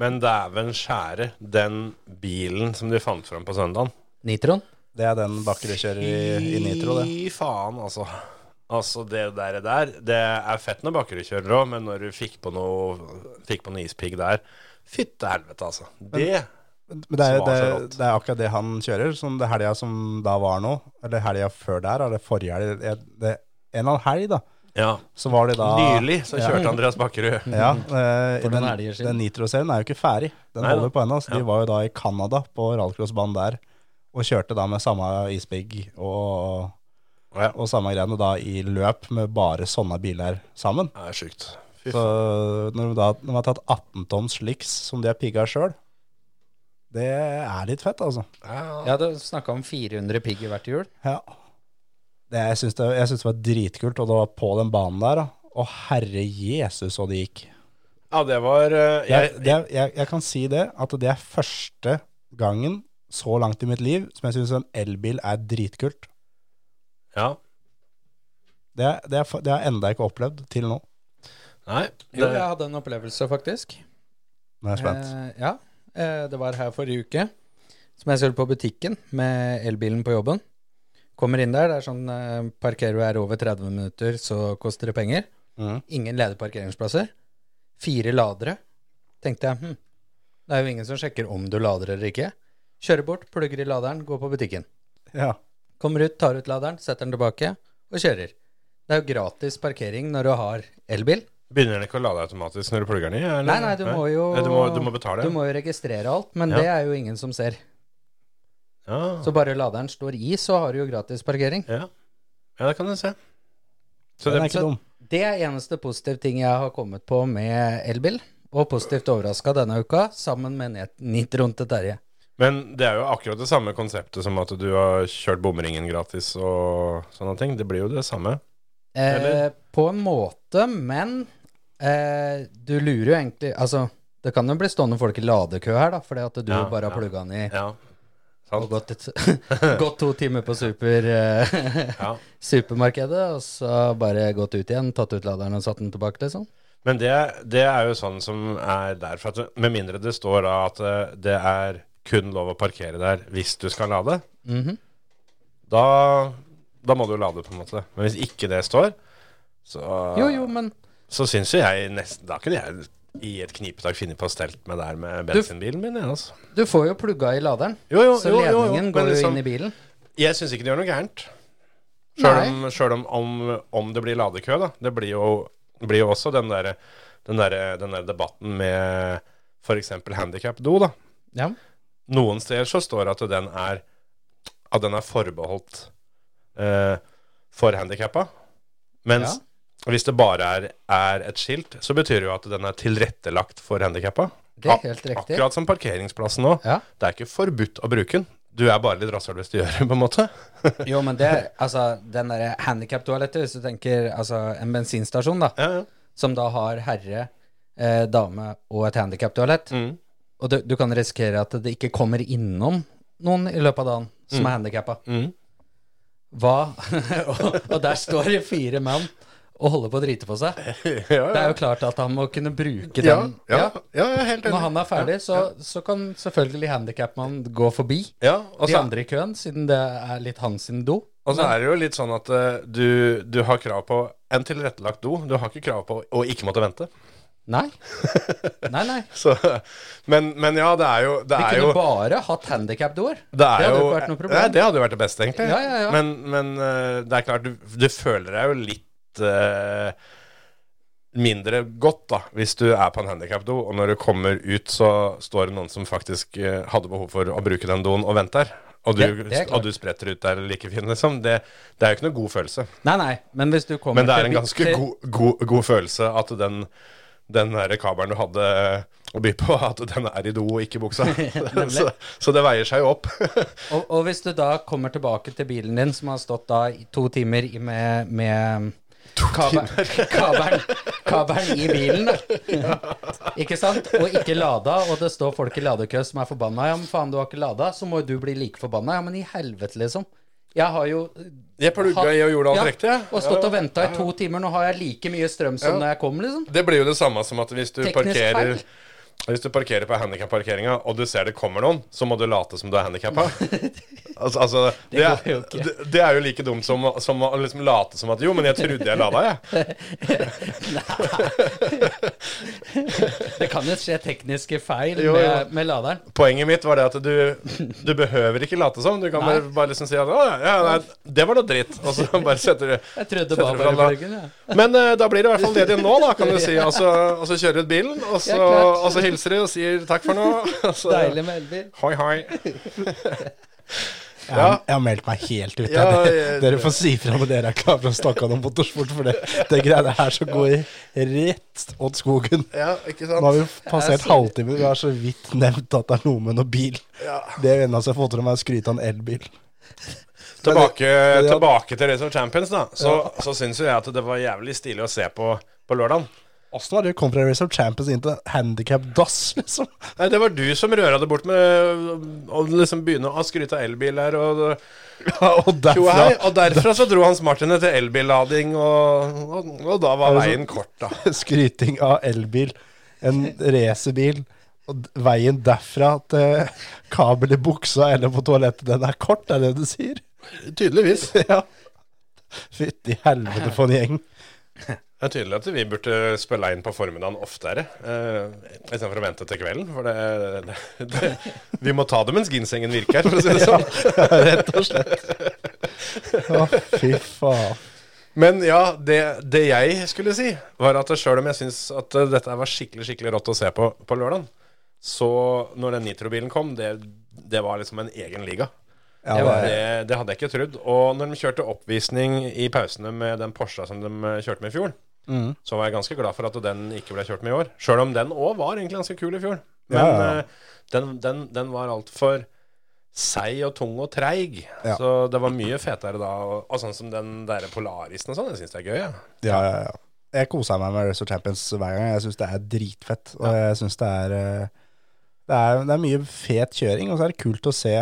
Men dæven skjære, den bilen som de fant fram på søndagen Nitron. Det er den Bakker kjører i, i Nitro, det. Fy faen, altså. Altså, det der, der Det er fett når Bakkerud kjører òg, men når du fikk på noe Fikk på noe ispigg der Fytte helvete, altså. Det Men det er, jo- Som var så det, rått. det er akkurat det han kjører, som det helga som da var nå, eller helga før der, eller forrige helg, det- det, en av helg, da, Ja. så var det da Ah, Nylig så kjørte Andreas Bakkerud. Ja, eh, For noen helger den, siden. den Nitro-serien er jo ikke ferdig. Den Nei da. holder på ennå. Så de var jo da i Canada på rallcrossbanen der, og kjørte da med samme isbig og, Ja. og samme greiene da i løp med bare sånne biler sammen. Det er sjukt. Fy Så når de da når de har tatt 18 tonn sliks som de har pigga sjøl, det er litt fett, altså. faen. Ja, du snakka om 400 pigg i hvert hjul. Ja. Det, jeg syns det, jeg synes det var dritkult, og det var på den banen der. da. Å herre jesus, så det gikk. Ja, det var eh, jeg, jeg, det, er- jeg, jeg kan si det, at det er første gangen så langt i mitt liv som jeg syns en elbil er dritkult. Ja. Det, er- det, er fa- det har jeg enda ikke opplevd til nå. Nei. Jo, Det, jeg hadde en opplevelse, faktisk. Nå er jeg spent. Eh, ja, eh, det var her forrige uke. Som jeg skulle på butikken med elbilen på jobben. Kommer inn der, det er sånn eh, parkerer du her over 30 minutter, så koster det penger. Mhm. Ingen ledige parkeringsplasser. fire ladere. Tenkte jeg, hm, det er jo ingen som sjekker om du lader eller ikke. Kjører bort, plugger i laderen, går på butikken. Ja. Kommer ut, tar ut laderen, setter den tilbake og kjører. Det er jo gratis parkering når du har elbil. Begynner den ikke å lade automatisk når du plugger den i? eller? Nei, nei, du må jo Nei, Du må, du må betale? Du må jo registrere alt, men Ja. det er jo ingen som ser. Ja. Så bare laderen står i, så har du jo gratis parkering. ja. ja, det kan du se. Så Den det, er ikke dum. Det er eneste positive ting jeg har kommet på med elbil. Og positivt overraska denne uka, sammen med net- nitroen til Terje. Men det er jo akkurat det samme konseptet som at du har kjørt bomringen gratis og sånne ting. Det blir jo det samme. Eh, Eller? på en måte, men eh, du lurer jo egentlig Altså, det kan jo bli stående folk i ladekø her, da, fordi at du Ja, bare har ja. plugga den i Ja. og Sant? gått, et, gått to timer på super, eh, Ja. supermarkedet, og så bare gått ut igjen, tatt ut laderen og satt den tilbake, liksom. Men det, det er jo sånn som er der. For at det- med mindre det står da at eh, det er kun lov å parkere der hvis du skal lade, Mhm. da, da må du lade, på en måte. Men hvis ikke det står, så Jo, jo, men så syns jo jeg nesten Da kunne jeg i et knipetak finne på å stelt meg der med Du- bensinbilen min. jeg, Altså. du får jo plugga i laderen, Jo, jo, så jo, jo, jo, ledningen men går jo liksom- inn i bilen. Jeg syns ikke det gjør noe gærent. Sjøl Nei. om, selv om, om, om det blir ladekø, da. Det blir jo, det blir jo også den derre den der, den der debatten med f.eks. handikap-do, da. Ja. Noen steder så står det at den er At den er forbeholdt eh, for handikappa. Mens hvis det bare er, er et skilt, så betyr det jo at den er tilrettelagt for handikappa. Det er helt riktig. Akkurat som parkeringsplassen nå. Ja. Det er ikke forbudt å bruke den. Du er bare litt rasshøl hvis du gjør det, på en måte. Jo, men det Altså, den derre handikaptoalettet, hvis du tenker altså en bensinstasjon, da, Ja, ja. som da har herre, eh, dame og et handikaptoalett, Mm. og du, du kan risikere at det ikke kommer innom noen i løpet av dagen som er handikappa. Mm. Hva og, og der står det fire mann og holder på å drite på seg. Det er jo klart at han må kunne bruke ja, den. ja, ja, jeg er helt Når enig. han er ferdig, så, så kan selvfølgelig handikapmannen gå forbi Ja, og de så, andre i køen, siden det er litt hans sin do. og så er det jo litt sånn at eh, du, du har krav på en tilrettelagt do. Du har ikke krav på å ikke måtte vente. Nei. Nei, nei. Så, men, men ja, det er jo Det Vi er kunne jo bare hatt handikapdoer. Det, er hadde jo, jo ikke vært noe problem. Nei, det hadde jo vært det beste, egentlig. Ja, ja, ja. Men, men eh, det er klart, du, du føler deg jo litt eh, mindre godt, da, hvis du er på en handikapdo, og når du kommer ut, så står det noen som faktisk eh, hadde behov for å bruke den doen, og venter. Og du, Det- det er klart. og du spretter ut der like fin, liksom. Det, det er jo ikke noe god følelse. Nei, nei, men hvis du kommer Men det er til en ganske til- god, god, god følelse at den, den der kabelen du hadde eh, å by på, at den er i do og ikke i buksa. så, så det veier seg jo opp. og, og hvis du da kommer tilbake til bilen din, som har stått da i to timer i- med, med kabe- kabelen, kabelen i bilen, da. ikke sant? Og ikke lada, og det står folk i ladekø som er forbanna. Ja, men faen, du har ikke lada, så må jo du bli like forbanna. Ja, men i helvete, liksom. Jeg har jo Jeg plugga i og gjorde alt Ja, riktig. jeg. Og stått og venta i to timer. Nå har jeg like mye strøm som når jeg kom, liksom. Det blir jo det samme som at hvis du Teknisk parkerer feil. Hvis du parkerer på handikapparkeringa, og du ser det kommer noen, så må du late som du er handikappa. altså, altså, det, går er- jo ikke. det, det er jo like dumt som, å- som å liksom late som at Jo, men jeg trodde jeg lada, jeg. Det kan jo skje tekniske feil Jo, jo. Med, med laderen. Poenget mitt var det at du, du behøver ikke late som. Du kan Nei. bare, bare liksom si at Å, ja, ja, nei, det var noe dritt. Og så bare setter du Jeg trodde setter bare du bare fra da. pluggen, ja. Men eh, da blir det i hvert fall det de nå, da, kan du si. Og så, og så kjører du ut bilen, og så, klart. og så hilser du og sier takk for nå. og så- Deilig med elbil. Hoi, hoi. Jeg, har- jeg har meldt meg helt ut. Ja, jeg. jeg- dere får si fra når dere er klare for å snakke om motorsport, for det, det greiene her som går rett åt skogen. Ja, ikke Nå sant? har vi passert halvtimen, vi har så vidt nevnt at det er noe med noe bil. Det eneste jeg har fått til meg, er å skryte av en elbil. Tilbake, Men det- tilbake til Race of Champions, da. Så, så syns jo jeg at det var jævlig stilig å se på på lørdagen. Åssen har dere kommet fra Race of Champions inn til handicap dass, liksom? Nei, det var du som røra det bort med å liksom begynne å skryte av elbil her. Og, jo, og hei, derfra og derfra så dro Hans Martin til elbillading, og, og, og da var Er det veien kort, da. skryting av elbil, en racerbil, og d- veien derfra til kabel i buksa eller på toalettet, den er kort, er det du sier? Tydeligvis. Ja. Fytti helvete for en gjeng. Det er tydelig at vi burde spille inn på formiddagen oftere, eh, istedenfor å vente til kvelden. For det, det, det, vi må ta det mens ginsengen virker, for å si det sånn. Rett og slett. Å, fy faen. Men ja, det, det jeg skulle si, var at sjøl om jeg syns at eh, dette var skikkelig skikkelig rått å se på på lørdag, så når den nitrobilen kom, det, det var liksom en egen liga. Ja, Det var- det, Det, det hadde jeg ikke trodd. Og når de kjørte oppvisning i pausene med den Porscha som de eh, kjørte med i fjor, Mm. så var jeg ganske glad for at den ikke ble kjørt med i år. Sjøl om den òg var egentlig ganske kul i fjor. Men Ja, ja, ja. eh, den, den, den var altfor seig og tung og treig. Ja. Så det var mye fetere da. Og, og sånn som den der polarisen og sånn, jeg syns det er gøy. Ja. ja, ja, ja. Jeg koser meg med Racer Champions hver gang. Jeg syns det er dritfett. Og jeg syns det er eh, det er, det er mye fet kjøring, og så er det kult å se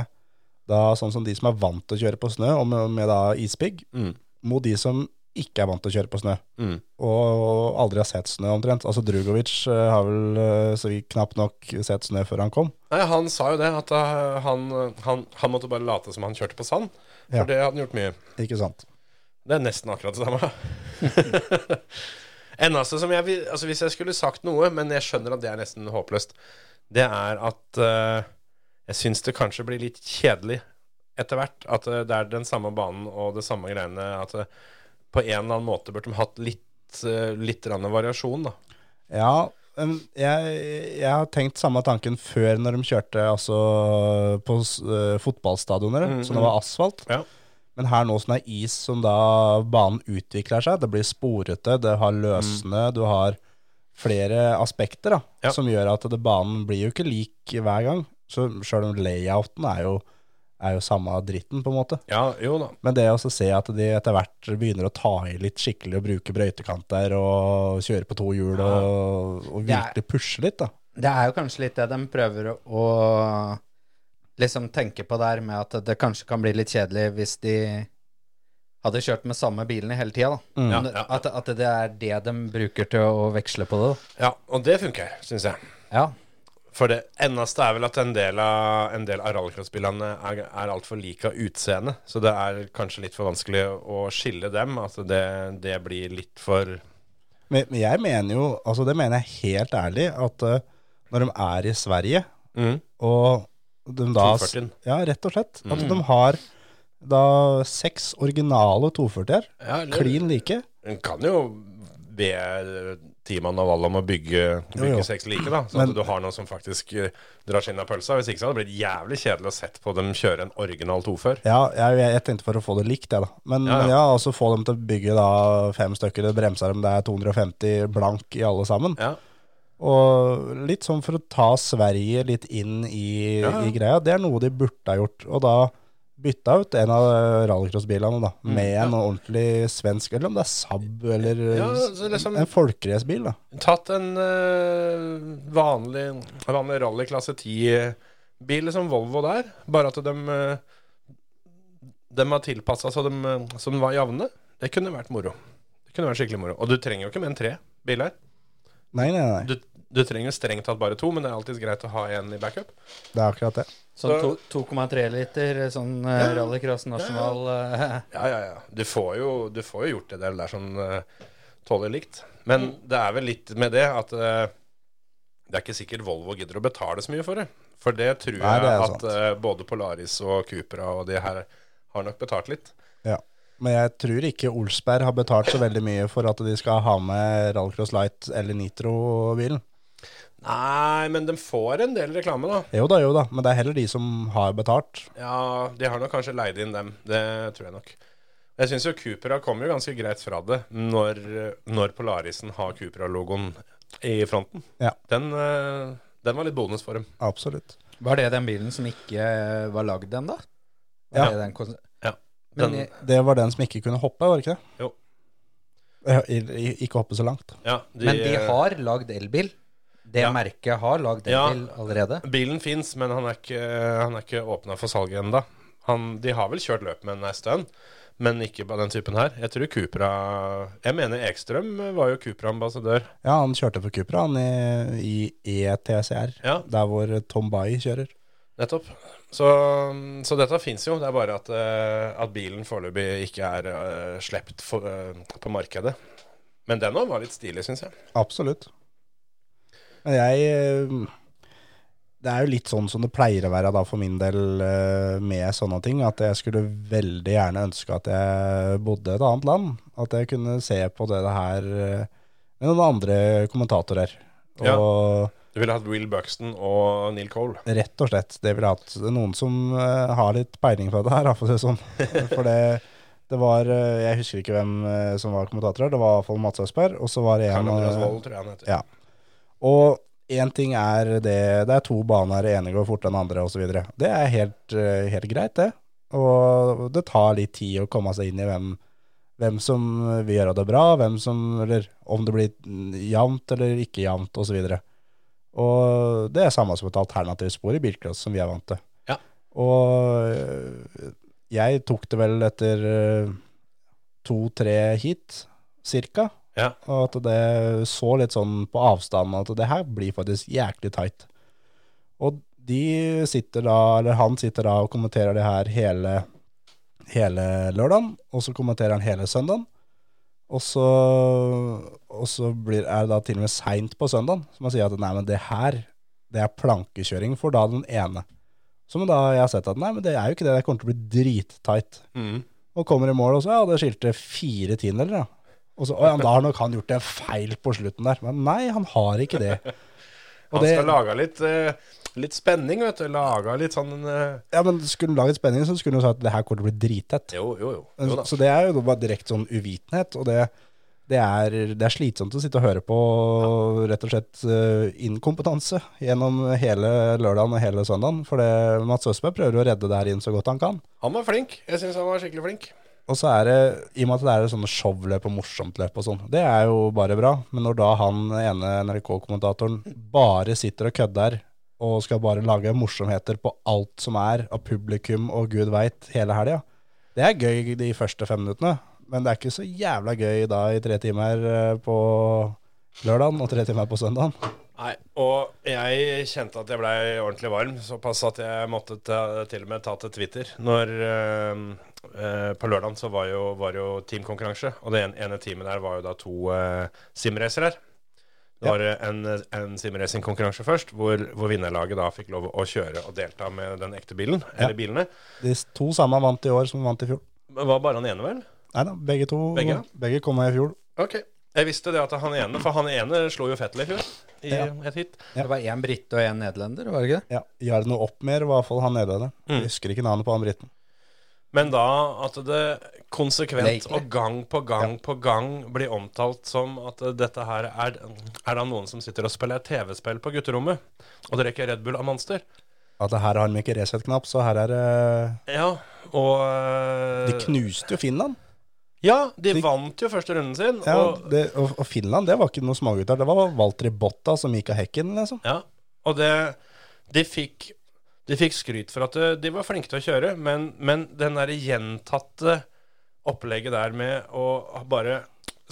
da sånn som de som er vant til å kjøre på snø, og med, med da isbygg, Mm. mot de som ikke er vant til å kjøre på snø, Mm. og aldri har sett snø omtrent. Altså Drugovic eh, har vel eh, så vidt knapt nok sett snø før han kom. Nei, Han sa jo det, at eh, han, han, han måtte bare late som han kjørte på sand. For Ja. det hadde han gjort mye. Ikke sant? Det er nesten akkurat det samme. Eneste som jeg vil Altså, hvis jeg skulle sagt noe, men jeg skjønner at det er nesten håpløst, det er at eh, jeg syns det kanskje blir litt kjedelig etter hvert. At eh, det er den samme banen og det samme greiene. At eh, på en eller annen måte burde de hatt litt, eh, litt grann variasjon, da. Ja, men jeg, jeg har tenkt samme tanken før når de kjørte altså, på s- eh, fotballstadioner, Mm, så det var asfalt. Ja. Men her nå som det er is som da banen utvikler seg, det blir sporete, det har løsende, du har flere aspekter da, Mm. Ja. som gjør at det, banen blir jo ikke lik hver gang. Så selv om layouten er jo, er jo samme dritten på en måte. Ja, jo da. Men det å så se at de etter hvert begynner å ta i litt skikkelig og bruke brøytekanter og kjøre på to hjul og, og Det er- virkelig pushe litt, da. Det er jo kanskje litt det de prøver å liksom tenke på der, med at det kanskje kan bli litt kjedelig hvis de hadde kjørt med samme bilene hele tida, da. Ja, Men ja. At, at det er det de bruker til å veksle på det, da. Ja, og det funker, syns jeg. Ja. For det eneste er vel at en del av, en del av rallycross-bilene er, er altfor like av utseende. Så det er kanskje litt for vanskelig å skille dem. At det, det blir litt for Men, men jeg mener jo, altså det mener jeg helt ærlig, at eh, når de er i Sverige, og de da 240. Ja, rett og slett. At de har da seks originale 240-er, Ja, eller- klin like. En kan jo be Timan og Wall om å bygge, Jo, jo. bygge seks like, da. Sånn Men- at du har noe som faktisk eh, drar skinn av pølsa. Hvis ikke så hadde det blitt jævlig kjedelig å sett på dem kjøre en original tofør. Ja, jeg, jeg, jeg tenkte for å få det likt, jeg, da. Men Ja, ja, ja. men ja altså få dem til å bygge da fem stykker, det bremser dem, det er 250 blank i alle sammen. Ja. Og litt sånn for å ta Sverige litt inn i, Ja, ja. i greia, det er noe de burde ha gjort. Og da bytta ut en av rallycrossbilene da, Mm, med en ordentlig svensk, eller om det er Saab, eller Ja, så liksom- en folkeracbil, da. Tatt en eh, vanlig, vanlig rally klasse 10-bil som liksom Volvo der, bare at de, uh, de har tilpassa så, de, eh, så de var jevne. Det kunne vært moro. Det kunne vært skikkelig moro. Og du trenger jo ikke mer enn tre biler. Nei, nei, nei. Du, du trenger jo strengt tatt bare to, men det er alltid greit å ha en i backup. Det er akkurat det. Sånn to- 2,3 liter sånn eh, rallycross nasjonal eh, Ja, ja, ja. Du får jo, du får jo gjort det der, der som uh, tåler likt. Men Mm. det er vel litt med det at eh, det er ikke sikkert Volvo gidder å betale så mye for det. For det tror Nei, det jeg er at eh, både Polaris og Cupra og de her har nok betalt litt. Ja. Men jeg tror ikke Olsberg har betalt så veldig mye for at de skal ha med rallycross light eller nitro-bilen. Nei, men de får en del reklame, da. Jo da, jo da, men det er heller de som har betalt. Ja, de har nok kanskje leid inn dem. Det tror jeg nok. Jeg syns jo Cupra kom jo ganske greit fra det når, når Polarisen har Cupra-logoen i fronten. Ja. Den, eh, den var litt bonus for dem. Absolutt. Var det den bilen som ikke eh, var lagd ennå? Ja. Ja. Men eh, Den- jeg- Det var den som ikke kunne hoppe, var det ikke det? Jo. Ja, i- i- Ikke hoppe så langt. Ja, de, Men de har lagd elbil. Det Ja. merket har lagd Ja. elbil allerede. eh, Bilen fins, men han er ikke, han er ikke åpna for salget ennå. De har vel kjørt løp med den en stund, men ikke på den typen her. Jeg tror Cupra Jeg mener Ekstrøm var jo Cupra-ambassadør. Ja, han kjørte for Cupra, han i, i E ETCR, Ja. der hvor Tom Bai kjører. Nettopp. Så, så dette fins jo, det er bare at, eh, at bilen foreløpig ikke er uh, sluppet for, eh, på eh, markedet. Men den òg var litt stilig, syns jeg. Absolutt. Men jeg eh, Det er jo litt sånn som det pleier å være da for min del eh, med sånne ting, at jeg skulle veldig gjerne ønske at jeg bodde et annet land. At jeg kunne se på det her eh, med noen andre kommentatorer. Og Ja. Du ville hatt Will Buxton og Neil Cole. rett og slett, det ville jeg hatt noen som eh, har litt peiling på det her, da, for å si det sånn. For det, det var eh, Jeg husker ikke hvem eh, som var kommentator her, det var i hvert fall Mats Østberg, og så var det Karl en Andreas eh, Wold, tror jeg han heter. Ja. Og én ting er det Det er to baner, det ene går fortere enn andre osv. Det er helt, eh, helt greit, det. Og det tar litt tid å komme seg inn i hvem, hvem som vil gjøre det bra, hvem som Eller om det blir jevnt eller ikke jevnt osv. Og, så og det er samme som et alternativt spor i bilcross, som vi er vant til. Ja. Og eh, jeg tok det vel etter eh, to-tre hit, cirka. Ja. Og at det så litt sånn på avstand at det her blir faktisk jæklig tight. Og de sitter da, eller han sitter da og kommenterer det her hele, hele lørdagen, og så kommenterer han hele søndagen. Og så, og så blir, er det da til og med seint på søndagen, som han sier at nei, men det her, det er plankekjøring for da den ene. Som da jeg har sett at nei, men det er jo ikke det, det kommer til å bli drittight. Mhm. Og kommer i mål, og så ja, det skilte fire tiendedeler, da. Og så, å ja, da har nok han gjort en feil på slutten der. Men nei, han har ikke det. Og Han det- skal lage litt, eh, litt spenning, vet du. Laga litt sånn eh, Ja, men skulle han laget spenning, så skulle han sagt at det her kommer til å bli drittett. Jo, jo, jo. jo da. Så det er jo bare direkte sånn uvitenhet, og det, det, er, det er slitsomt å sitte og høre på rett og slett eh, inkompetanse gjennom hele lørdagen og hele søndagen. For det, Mats Østberg prøver å redde det her inn så godt han kan. Han var flink. Jeg syns han var skikkelig flink. Og så er det, i og med at det er sånne showløp og morsomt løp og sånn, det er jo bare bra. Men når da han ene NRK-kommentatoren bare sitter og kødder og skal bare lage morsomheter på alt som er av publikum og gud veit hele helga, det er gøy de første fem minuttene. Men det er ikke så jævla gøy da i tre timer eh, på lørdagen og tre timer på søndagen. Nei, og jeg kjente at jeg blei ordentlig varm, såpass at jeg måtte ta, til og med ta til Twitter. Når eh, eh, På lørdagen så var jo, var jo teamkonkurranse, og det ene, ene teamet der var jo da to eh, simracere. Det Ja. var eh, en, en simracingkonkurranse først, hvor, hvor vinnerlaget da fikk lov å kjøre og delta med den ekte bilen, eller bilene. De to samme vant i år som vant i fjor. Men var bare han ene, vel? Nei da, begge to Begge? begge kom med i fjor. Ok. Jeg visste det at han ene, for han ene slo jo Fettel i fjor, i Ja. et hit. Det var én brite og én nederlender, var det ikke det? Ja, Jarno Oppmer var i hvert fall han nederlenderen. Mm. Jeg Husker ikke navnet på han briten. Men da at det konsekvent Blakely. og gang på gang på gang blir omtalt som at dette her er, er da noen som sitter og spiller TV-spill på gutterommet og drikker Red Bull av Monster. At det her har de ikke Resett-knapp, så her er det Ja, og eh, De knuste jo Finland. Ja, de, de- vant jo første runden sin. Ja, og, det, og, og Finland, det var ikke noen smågutter. Det var Valtteri Botta som gikk av hekken, liksom. ja, og det De fikk De fikk skryt for at eh, de var flinke til å kjøre, men, men den derre gjentatte opplegget der med å bare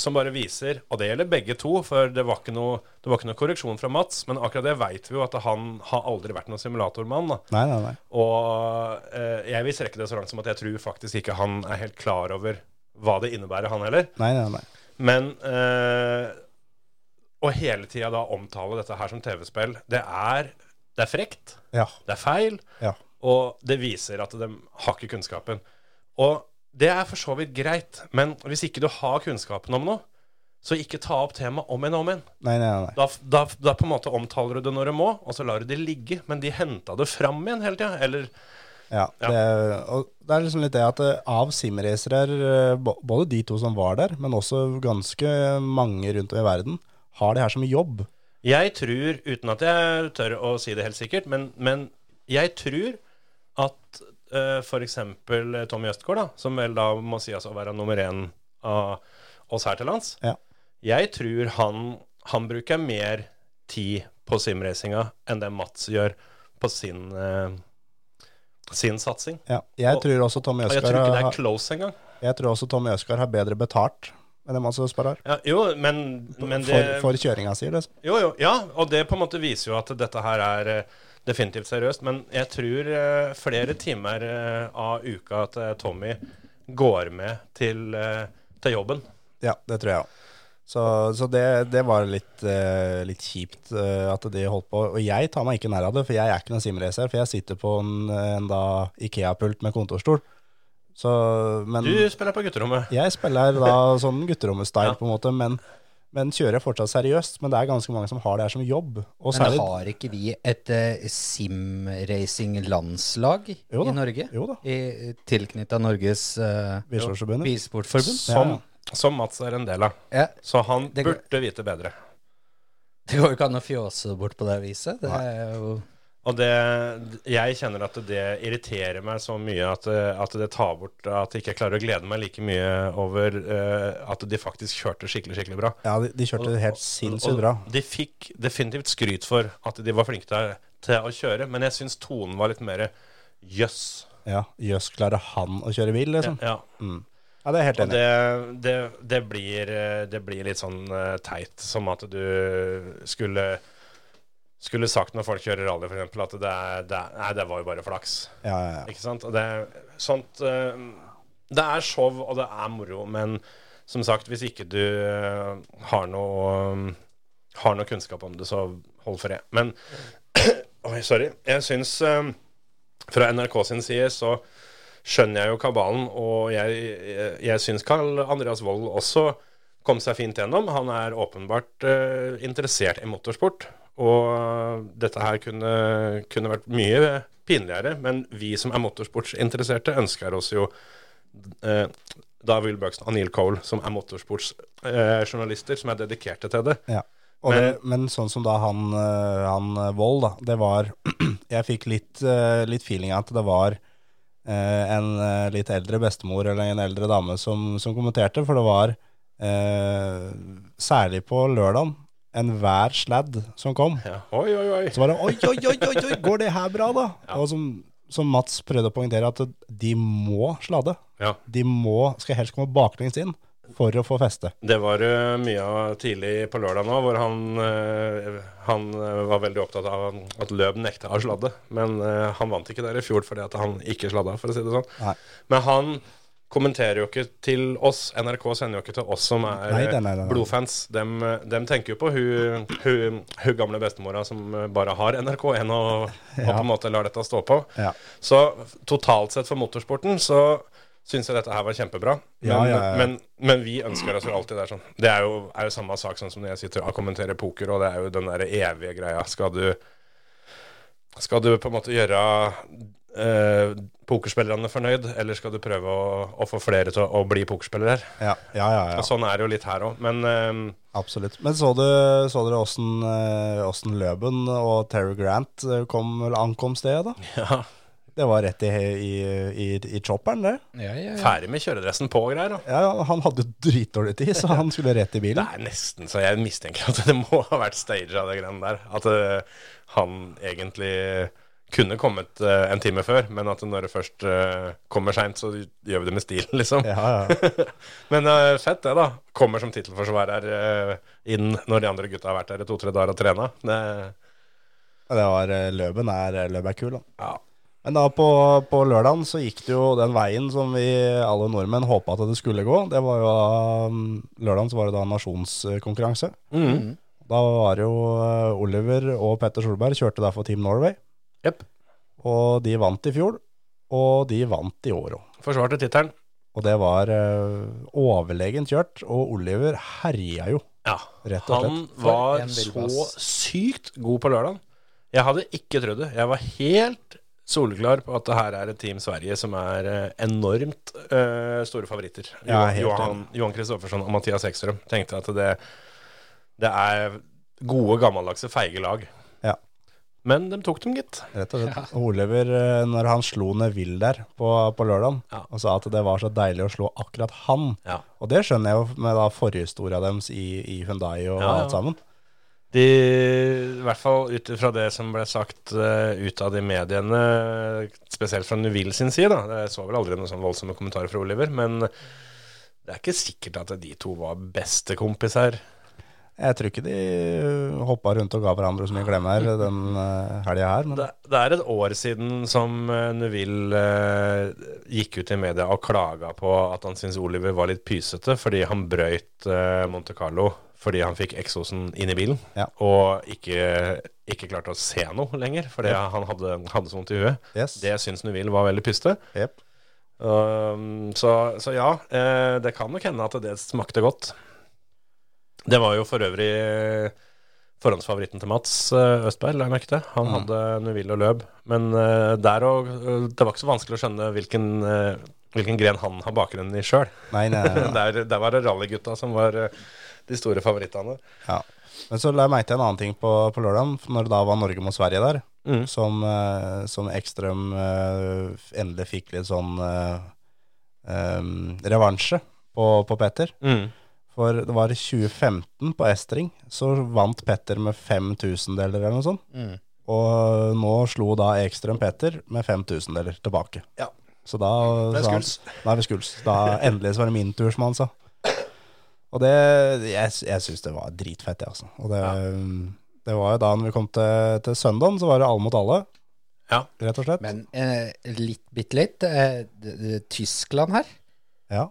som bare viser, og det gjelder begge to, for det var ikke noe, det var ikke noe korreksjon fra Mats, men akkurat det veit vi jo at han har aldri vært noen simulatormann. da. Nei, nei, nei. Og eh, jeg vil strekke det så langt som at jeg tror faktisk ikke han er helt klar over hva det innebærer, han heller. nei, nei, nei. Men eh, å hele tida da omtale dette her som TV-spill, det er, det er frekt, Ja, det er feil, ja. og det viser at de har ikke kunnskapen. Og det er for så vidt greit, men hvis ikke du har kunnskapen om noe, så ikke ta opp temaet om igjen og om igjen. Nei, nei, nei. Da, da, da på en måte omtaler du det når du må, og så lar du det ligge. Men de henta det fram igjen hele tida. Eller Ja, Ja. Det, og det er liksom litt det at eh, av simracere, eh, bo- både de to som var der, men også ganske mange rundt om i verden, har det her som jobb. Jeg tror, uten at jeg tør å si det helt sikkert, men, men jeg tror at uh, f.eks. eh, Tommy Østgaard, da, som vel da må sies å være nummer én av oss her til lands, Ja. jeg tror han, han bruker mer tid på simracinga enn det Mats gjør på sin, eh, sin satsing. ja. Jeg Og- tror også Tommy Og jeg tror ikke det Øsgaard er close engang. Jeg tror også Tommy Øsgaard har bedre betalt enn det Mads Østberg har. Ja, jo, men, men det, For, for kjøringa si, liksom. Jo, jo, ja, og det på en måte viser jo at dette her er eh, definitivt seriøst. Men jeg tror eh, flere timer eh, av uka at eh, Tommy går med til, eh, til jobben. Ja, det tror jeg òg. Så, så det, det var litt, eh, litt kjipt eh, at de holdt på. Og jeg tar meg ikke nær av det, for jeg er ikke noen simracer. For jeg sitter på en, en da Ikea-pult med kontorstol. Så, men Du spiller på gutterommet. jeg spiller da sånn gutterommet-style, på en måte, men, men kjører fortsatt seriøst. Men det er ganske mange som har det her som jobb. Og Men særlig- har ikke vi et eh, simracing-landslag Jo da, i Norge? jo da. I- Tilknytta Norges eh, Bilsportsforbundet. bilsportforbund? Som, som Mats er en del av. Ja. Så han Det går- burde vite bedre. Det går jo ikke an å fjåse bort på det viset. Det er jo Og det, jeg kjenner at det irriterer meg så mye at, det- at det tar bort At jeg ikke klarer å glede meg like mye over eh, at de faktisk kjørte skikkelig, skikkelig bra. Ja, de, de kjørte Og helt sinnssykt bra. De fikk definitivt skryt for at de var flinke til, til å kjøre, men jeg syns tonen var litt mer jøss. Ja, Jøss, klarer han å kjøre bil, liksom? Ja. Ja, det er jeg helt Og enig. i. det, det, det, blir, eh, det blir litt sånn eh, teit, som at du skulle skulle sagt når folk kjører rally, f.eks., at det, er, det, er, nei, det var jo bare flaks. Ja, ja, ja. Ikke sant? Og det, er sånt, eh, det er show, og det er moro, men som sagt, hvis ikke du eh, har noe, eh, har noe kunnskap om det, så hold for det. Men Oi, sorry. Jeg syns eh, Fra NRK sin side så skjønner jeg jo kabalen, og jeg, jeg, jeg syns Karl Andreas Vold også kom seg fint gjennom. Han er åpenbart eh, interessert i motorsport, og dette her kunne, kunne vært mye pinligere, men vi som er motorsportsinteresserte, ønsker oss jo eh, da Will Buxton og Neil Cole, som er motorsportsjournalister, som er dedikerte til det. Ja. Og men, det, men sånn som da han, eh, han eh, Vold, da, det var Jeg fikk litt, eh, litt feeling av at det var eh, en eh, litt eldre bestemor eller en eldre dame som, som kommenterte, for det var eh, særlig på lørdagen enhver sladd som kom. Ja. Oi, oi, oi. Så var det oi, oi, oi, oi, oi går det her bra, da? Og som, som Mats prøvde å poengtere, at de må sladde. Ja. De må, skal helst komme baklengs inn for å få feste. Det var eh, mye av tidlig på lørdag nå, hvor han, eh, han eh, var veldig opptatt av at Løb nekta å sladde. Men eh, han vant ikke der i fjor fordi at han ikke sladda, for å si det sånn. Nei. Men han kommenterer jo ikke til oss. NRK sender jo ikke til oss som er Nei, eh, nei, nei, nei. blodfans. Dem, eh, dem tenker jo på hun, hun, hun gamle bestemora som eh, bare har NRK1 og, og på en måte lar dette stå på. Ja. Så totalt sett for motorsporten så syns jeg dette her var kjempebra. Men, Ja, ja, ja. men, men vi ønsker oss jo alltid det er sånn. Det er jo, er jo samme sak sånn som når jeg sitter og kommenterer poker, og det er jo den der evige greia. Skal du, skal du på en måte gjøre eh, pokerspillerne fornøyd, eller skal du prøve å, å få flere til å, å bli pokerspillere? Ja, ja, ja. ja. Og sånn er det jo litt her òg. Men eh, Absolutt. Men så, du, så dere åssen, eh, åssen Løben og Terry Grant eh, kom, eller ankom stedet, da? ja, Det var rett i, i, i, i chopperen, det. ja, ja, ja. ferdig med kjøredressen på og greier. Da. Ja, ja, Han hadde jo dritdårlig tid, så han skulle rett i Det bilen. er nesten så jeg mistenker at det må ha vært staged av det greiene der. At eh, han egentlig kunne kommet eh, en time før, men at når det først eh, kommer seint, så gjør vi det med stilen, liksom. Ja, ja. Men eh, fett det, da. Kommer som tittelforsvarer eh, inn når de andre gutta har vært der i to-tre dager og trena. Det, Ja, Det var eh, Løben er, Løben er kul, han. ja. Men da på, på lørdagen så gikk det jo den veien som vi alle nordmenn håpa at det skulle gå. Det var jo da, mm, Lørdagen så var det da nasjonskonkurranse. Mm. Mm. Da var det jo eh, Oliver og Petter Solberg kjørte da for Team Norway. Jepp. Og de vant i fjor, og de vant i år òg. Forsvarte tittelen. Og det var eh, overlegent kjørt, og Oliver herja jo. Ja. Rett og Han For var en så villbass. sykt god på lørdagen. Jeg hadde ikke trodd det. Jeg var helt soleklar på at det her er et Team Sverige som er eh, enormt eh, store favoritter. Ja, Johan- helt Johan- Johan Kristoffersson og Mathias Ekstrøm tenkte at det, det er gode, gammeldagse, feige lag. Ja. Men de tok dem, gitt. Rett og slett. Og Oliver, eh, når han slo ned Will der på, på lørdagen, Ja. og sa at det var så deilig å slå akkurat han Ja. Og det skjønner jeg jo med da forhistoria deres i, i Hyundai Ja, og ja. alt sammen. De, I hvert fall ut fra det som ble sagt eh, utad i mediene, spesielt fra Nuville sin side, da. Jeg så vel aldri noen sånn voldsomme kommentarer fra Oliver, men det er ikke sikkert at de to var bestekompiser. Jeg tror ikke de hoppa rundt og ga hverandre så mye klemmer den uh, helga her, men Det, det er et år siden som eh, Neville eh, gikk ut i media og klaga på at han syntes Oliver var litt pysete fordi han brøyt eh, Monte Carlo fordi han fikk eksosen inn i bilen Ja. og ikke, ikke klarte å se noe lenger fordi han hadde, hadde så vondt i huet. yes. Det syns Neville var veldig pysete. Jep. Um, så, så ja, eh, det kan nok hende at det smakte godt. Det var jo for øvrig eh, forhåndsfavoritten til Mats eh, Østberg, la jeg merke til. Han hadde Nuville og Løb. Men eh, der òg Det var ikke så vanskelig å skjønne hvilken, eh, hvilken gren han har bakgrunn i sjøl. Nei, nei, nei, nei. Der, der var det rallygutta som var eh, de store favorittene. Ja. Men så la jeg merke til en annen ting på, på lørdagen, når det da var Norge mot Sverige der, Mm. som, eh, som Ekstrøm eh, f- endelig fikk litt sånn eh, em, revansje på, på Petter. For det var i 2015 på S-ring, så vant Petter med 5000 deler eller noe sånt. Mm. Og nå slo da Ekstrøm Petter med 5000 deler tilbake. Ja. Så da Det er sa han- skuls. Da er vi skuls. Da endelig så var det min tur, som han sa. Og det Jeg, jeg syns det var dritfett, jeg, altså. Og det, det var jo da når vi kom til, til søndagen, så var det alle mot alle, Ja. rett og slett. Men eh, litt, bitte litt. Eh, d- d- Tyskland her, Ja.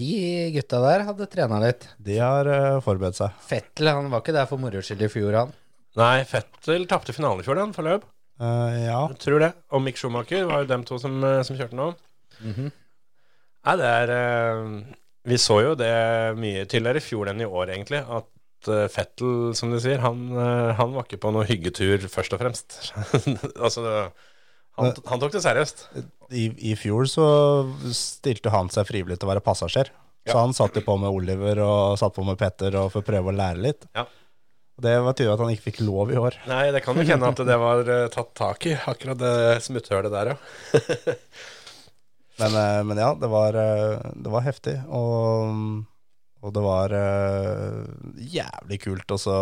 de gutta der hadde trena litt. De har eh, forberedt seg. Fettel han var ikke der for moro skyld i fjor, han. Nei, Fettel tapte finalen i fjor, den, for løp. Eh, ja. Jeg tror det. Og Mick Schumacher var jo dem to som, eh, som kjørte nå. Nei, det er eh, Vi så jo det mye tidligere i fjor enn i år, egentlig. At eh, Fettel, som du sier, han, eh, han var ikke på noen hyggetur, først og fremst. altså, det- han, han tok det seriøst. I, I fjor så stilte han seg frivillig til å være passasjer. Så han satt jo på med Oliver og satt på med Petter og for å prøve å lære litt. Ja. Og Det var tydelig at han ikke fikk lov i år. Nei, det kan jo hende at det var eh, tatt tak i, akkurat det smutthølet der, ja. Men, eh, men ja, det var, eh, det var heftig, og, og det var eh, jævlig kult også,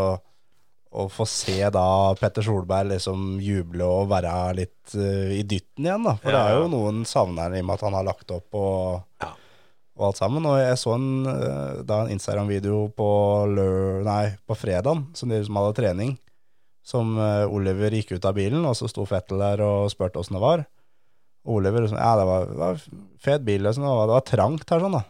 å få se da Petter Solberg liksom juble og være litt eh, i dytten igjen. da. For det Ja, ja. er jo noen savner i og med at han har lagt opp og, Ja. og alt sammen. Og jeg så en, eh, da en Instagram-video på, lø- nei, på fredagen, som de liksom hadde trening. Som eh, Oliver gikk ut av bilen, og så sto Fettel der og spurte åssen det var. Oliver liksom, ja, det var, det var fet bil, liksom, og det var trangt her sånn da.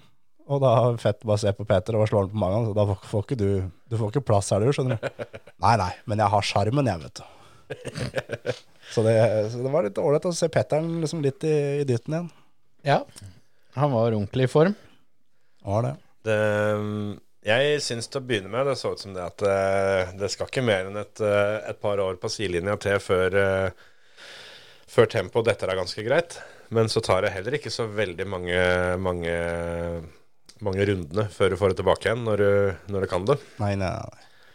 Og da fett bare se på Peter og slå han på magen, så da får, får ikke du, du får ikke plass her du, skjønner du. Nei, nei, men jeg har skjermen, jeg vet du. Så det, så det var litt ålreit å se Petteren liksom litt i, i dytten igjen. Ja, han var ordentlig i form. Det Var det. Det, eh, jeg syns til å begynne med det så ut som det at eh, det skal ikke mer enn et, eh, et par år på sidelinja til før, eh, før tempoet detter av ganske greit. Men så tar det heller ikke så veldig mange, mange, mange rundene før du får det tilbake igjen, når du, når du kan det. Nei, nei, nei. nei.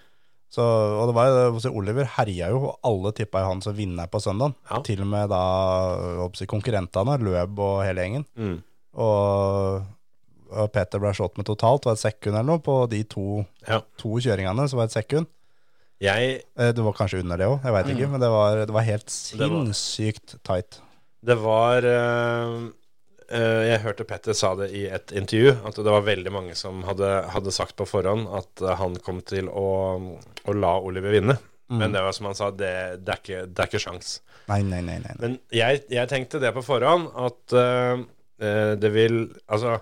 Så, og det var jo, så Oliver herja jo, og alle tippa jo han som vinner på søndagen. Ja. Til og med da hva skal jeg si, konkurrentene, Løb og hele gjengen. Og, og Peter ble slått med totalt, var et sekund eller noe, på de to, Ja. to kjøringene, så var det et sekund. Jeg Eh, Det var kanskje under det òg, jeg veit ikke, men det var, det var helt Mm. var- sinnssykt tight. Det var eh, eh, Jeg hørte Petter sa det i et intervju, at det var veldig mange som hadde, hadde sagt på forhånd at eh, han kom til å, å la Oliver vinne. Men det var som han sa, det, det, er, ikke, det er ikke sjans. Nei, nei, nei. nei. nei. Men jeg, jeg tenkte det på forhånd, at eh, eh, det vil Altså,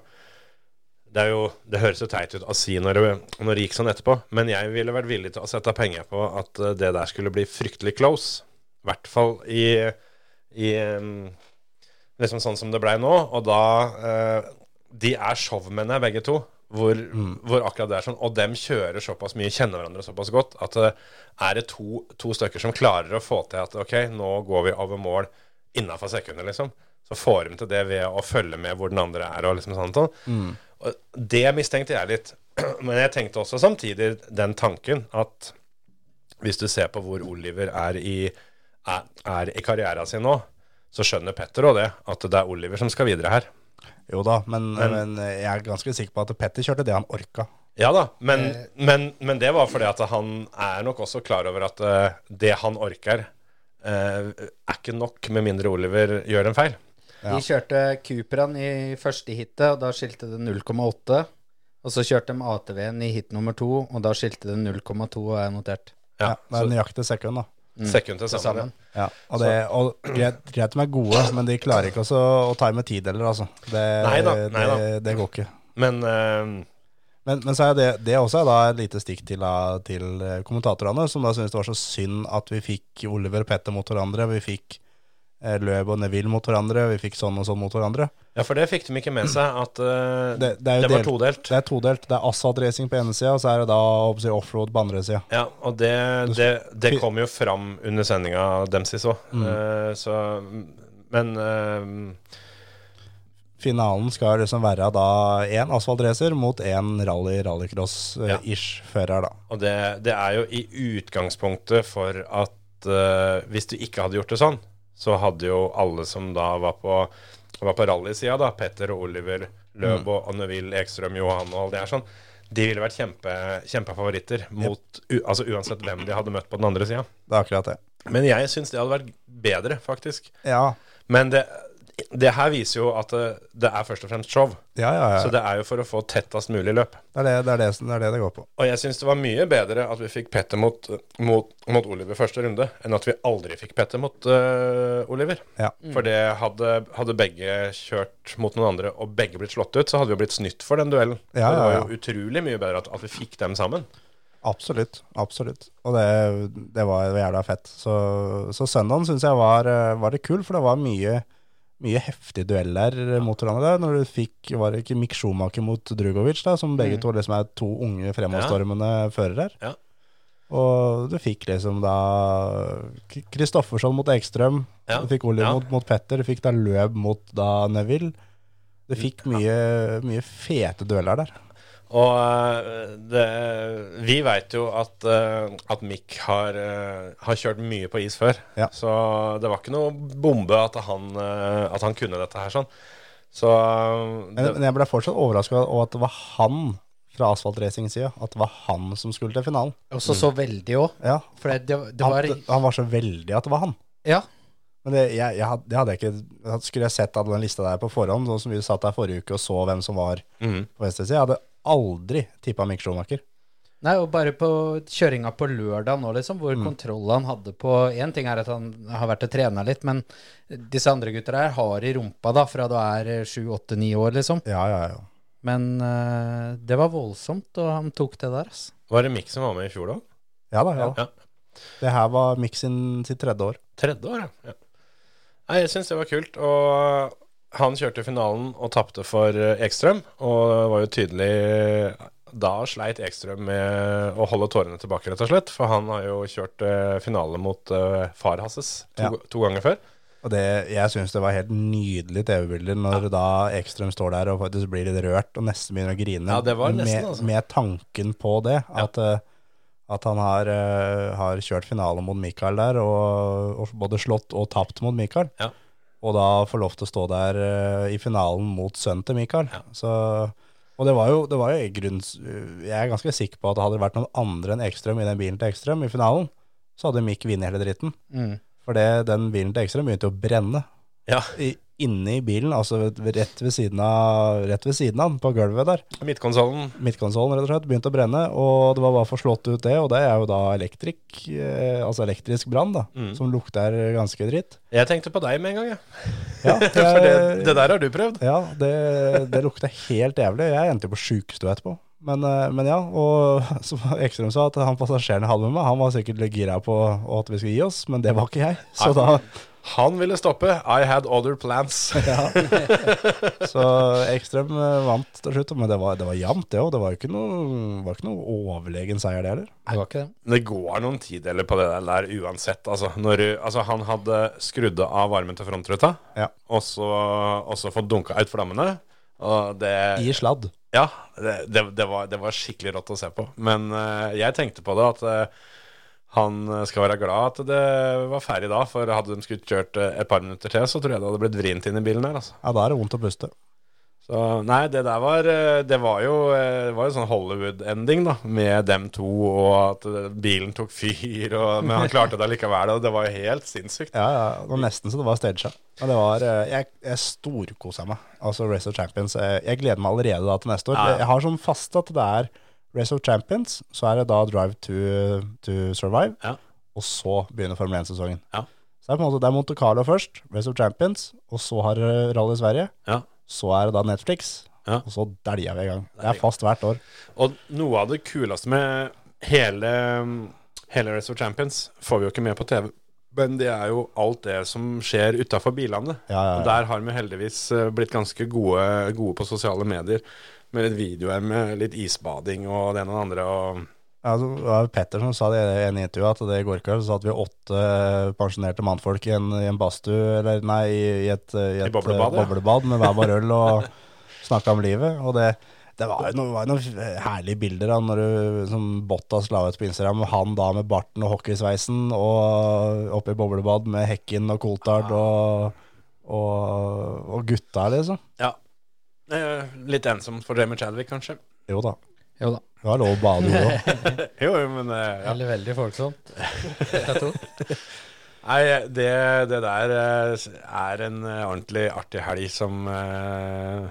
det er jo Det høres jo teit ut å si når det, når det gikk sånn etterpå, men jeg ville vært villig til å sette penger på at eh, det der skulle bli fryktelig close. I hvert fall i, i em, Liksom sånn som det blei nå. Og da eh, De er showmenn her, begge to. Hvor, hvor akkurat det er sånn Og dem kjører såpass mye, kjenner hverandre såpass godt, at eh, er det to, to stykker som klarer å få til at OK, nå går vi over mål innafor sekundet, liksom. Så får de til det ved å følge med hvor den andre er, og liksom sånt. og- Og det mistenkte jeg litt. Men jeg tenkte også samtidig den tanken at hvis du ser på hvor Oliver er i, er, er i karrieren sin nå, så skjønner Petter òg det, at det er Oliver som skal videre her. Jo da, men, men eh, jeg er ganske sikker på at Petter kjørte det han orka. Ja da, men, Eh. men, men det var fordi at han er nok også klar over at eh, det han orker, eh, er ikke nok med mindre Oliver gjør en feil. De kjørte Cooperan i første hitet, og da skilte det 0,8. Og så kjørte de ATV-en i hit nummer to, og da skilte det 0,2, har jeg notert. Ja, Ja, det er nøyaktig sekund, da. Sekund til sammen. Sammen. Ja, og det, og greit, greit de er gode, men de klarer ikke også å ta med tid heller, altså. Det, Neida, det, neida. det går ikke. Men eh, Men, men så er det, det også er da et lite stikk til, da, til eh, kommentatorene, som da syntes det var så synd at vi fikk Oliver og Petter mot hverandre, vi fikk eh, Løb og Neville mot hverandre, vi fikk sånn og sånn mot hverandre. Ja, for det fikk de ikke med seg, at eh, det, Det- det er jo var delt- todelt. Det er todelt. Det er asfaltracing på ene sida, og så er det da håper jeg å si, offroad på andre sida. Ja, og det, det, det kom jo fram under sendinga deres òg, Eh, så Men eh, Finalen skal liksom være da én asfaltracer mot én rally rallycross-ish fører, da. Og det, det er jo i utgangspunktet for at eh, hvis du ikke hadde gjort det sånn, så hadde jo alle som da var på, var på rallysida, da, Petter og Oliver Løbo og Neville Ekstrøm Johan og alt det her sånn, de ville vært kjempe, kjempefavoritter mot u, altså uansett hvem de hadde møtt på den andre sida. Det er akkurat det. Men jeg syns det hadde vært bedre, faktisk. Ja, Men det, det her viser jo at det, det er først og fremst show. ja, ja. ja. Så det er jo for å få tettest mulig løp. Det, er det, det, er det, som- det er det det går på. Og jeg syns det var mye bedre at vi fikk Petter mot, mot, mot Oliver første runde, enn at vi aldri fikk Petter mot øh, Oliver. Ja. For det hadde, hadde begge kjørt mot noen andre og begge blitt slått ut, så hadde vi jo blitt snytt for den duellen. Ja, det var ja, jo utrolig mye bedre at, at vi fikk dem sammen. Absolutt. absolutt. Og det, det var jævla fett. Så, så søndagen syns jeg var, eh, var det kul, for det var mye, mye heftige dueller mot hverandre. der, Når du fikk, var det ikke Mick Schumacher mot Drugovic, da, som begge to liksom er to unge fremadstormende førere. Mm. Ja. Og du fikk liksom da K- Kristoffersson mot Ekstrøm. Ja, Du fikk Oliver ja. mot, mot Petter. Du fikk da Løb mot da Neville. Du fikk mye, mye fete dueller der. Og eh, det, vi vet jo at, eh, at Mick har, eh, har kjørt mye på is før. Ja. Så det var ikke noe bombe at han, eh, at han kunne dette her sånn. Så eh, Men, det, men jeg ble fortsatt overraska over at det var han fra asfaltracing-sida. At det var han som skulle til finalen. Og så så veldig òg. Ja, For det, det, Mm. det han, var han var så veldig at det var han. Ja. Men det, jeg, jeg, had- det hadde jeg ikke hadde- Skulle jeg sett av den lista der på forhånd, sånn som vi satt der forrige uke og så hvem som var på venstre side, jeg hadde aldri tippa Mick Schumacher. Nei, og bare på kjøringa på lørdag nå, liksom, hvor kontroll han hadde på Én ting er at han har vært og trena litt, men disse andre gutta her har i rumpa da, fra du er eh, sju, åtte, ni år, liksom. Ja, ja, ja. Men eh, det var voldsomt, og han tok det der, altså. var det Mick som var med i fjor, da? Ja da, ja. da. Ja. Det her var Mick sin, sitt tredje år. Tredje år, ja. ja. Nei, jeg syns det var kult. Og han kjørte finalen og tapte for eh, Ekstrøm. Og det var jo tydelig Da sleit Ekstrøm med å holde tårene tilbake, rett og slett. For han har jo kjørt eh, finale mot eh, far Hasses to, Ja. to ganger før. Og det, jeg syns det var helt nydelige TV-bilder når da Ekstrøm står der og faktisk blir litt rørt og nesten begynner å grine. Ja, det var nesten, med, altså. med tanken på det. At, eh, at han har, eh, har kjørt finale mot Michael der, og, og både slått og tapt mot Michael. Ja. Og da får lov til å stå der eh, i finalen mot sønnen til Michael. Så, og det var jo, det var jo i grunns, eh, Jeg er ganske sikker på at hadde det vært noen andre enn Ekstrøm i den bilen til Ekstrøm i finalen, så hadde Mick vunnet hele dritten. Mm. For det, den bilen til Ekstrøm begynte å brenne Ja, i, inne i bilen, altså rett ved siden av, rett ved siden av den, på gulvet der. Midtkonsollen. Midtkonsollen rett og slett begynte å brenne, og det var bare for slått ut det, og det er jo da elektrik, eh, altså elektrisk brann da, Mm. som lukter ganske dritt. Jeg tenkte på deg med en gang, jeg. Ja, For det, jeg- det der har du prøvd. ja, det, det lukta helt jævlig. Jeg endte jo på sjukestua etterpå. Men, eh, men ja, og som Ekstrøm sa, at han passasjeren jeg hadde med meg, han var sikkert litt gira på at vi skulle gi oss, men det var ikke jeg. Så da, Han ville stoppe. I had other plans. Så Ekstrøm eh, vant til slutt, men det var, det var jevnt, det òg. Det var jo ikke noe, var ikke noe overlegen seier, det heller. Det var ikke det. Det går noen tideler på det der der uansett. Altså, når, du- altså han hadde skrudd av varmen til frontruta, Ja. og, så, og så fått dunka ut flammene. Og I det, sladd. ja, det, det, det, var, det var skikkelig rått å se på. Men eh, jeg tenkte på det at eh, han skal være glad at det var ferdig da, for hadde de skulle kjørt eh, et par minutter til, så tror jeg det hadde blitt vrient inn i bilen der. Altså. Ja, da er det vondt å puste. Så nei, det der var eh, Det var jo, eh, det var jo sånn Hollywood-ending, da. Med dem to, og at eh, bilen tok fyr, og, men han klarte det allikevel. Og det var jo helt sinnssykt. Ja, ja, det var nesten så det var staged. Men det var, eh, jeg, jeg storkosa meg. Altså Race of Champions. eh, Jeg gleder meg allerede da til neste år. Ja, ja. Jeg har sånn fast at det er Race of Champions, så er det da Drive to, to Survive, Ja. og så begynner Formel 1-sesongen. Ja. Så det er på en måte det er Monte Carlo først, Race of Champions, og så har eh, Rally Sverige. Ja. Så er det da Netflix, Ja. og så dælja vi i gang. Det er fast hvert år. Og noe av det kuleste med hele, hele Race of Champions får vi jo ikke med på TV. Men det er jo alt det som skjer utafor bilene. Ja, ja, ja. Og der har vi heldigvis eh, blitt ganske gode, gode på sosiale medier. Med litt videoer med litt isbading og det ene og det andre. Og Ja, så Altså, det var Petter som sa det i en intervju at det i går kveld så satt vi åtte eh, pensjonerte mannfolk i en, i en badstue, eller nei, i, i et, i et boblebad, eh, ja. boblebad med hver vår øl og snakka om livet. Og det, det var jo noe- var jo noen herlige bilder da, når du, som Bottas la ut på Instagram, han da med barten og hockeysveisen og oppe i boblebad med Hekken og Coltard og, og, og gutta, liksom. ja. Eh, Litt ensomt for Jamie Chadwick, kanskje. Jo da, Jo da. det var lov å bade jo da. Jo, jo, men eh, ja. Eller veldig folksomt. Nei, det, det der eh, er en eh, ordentlig artig helg som, eh,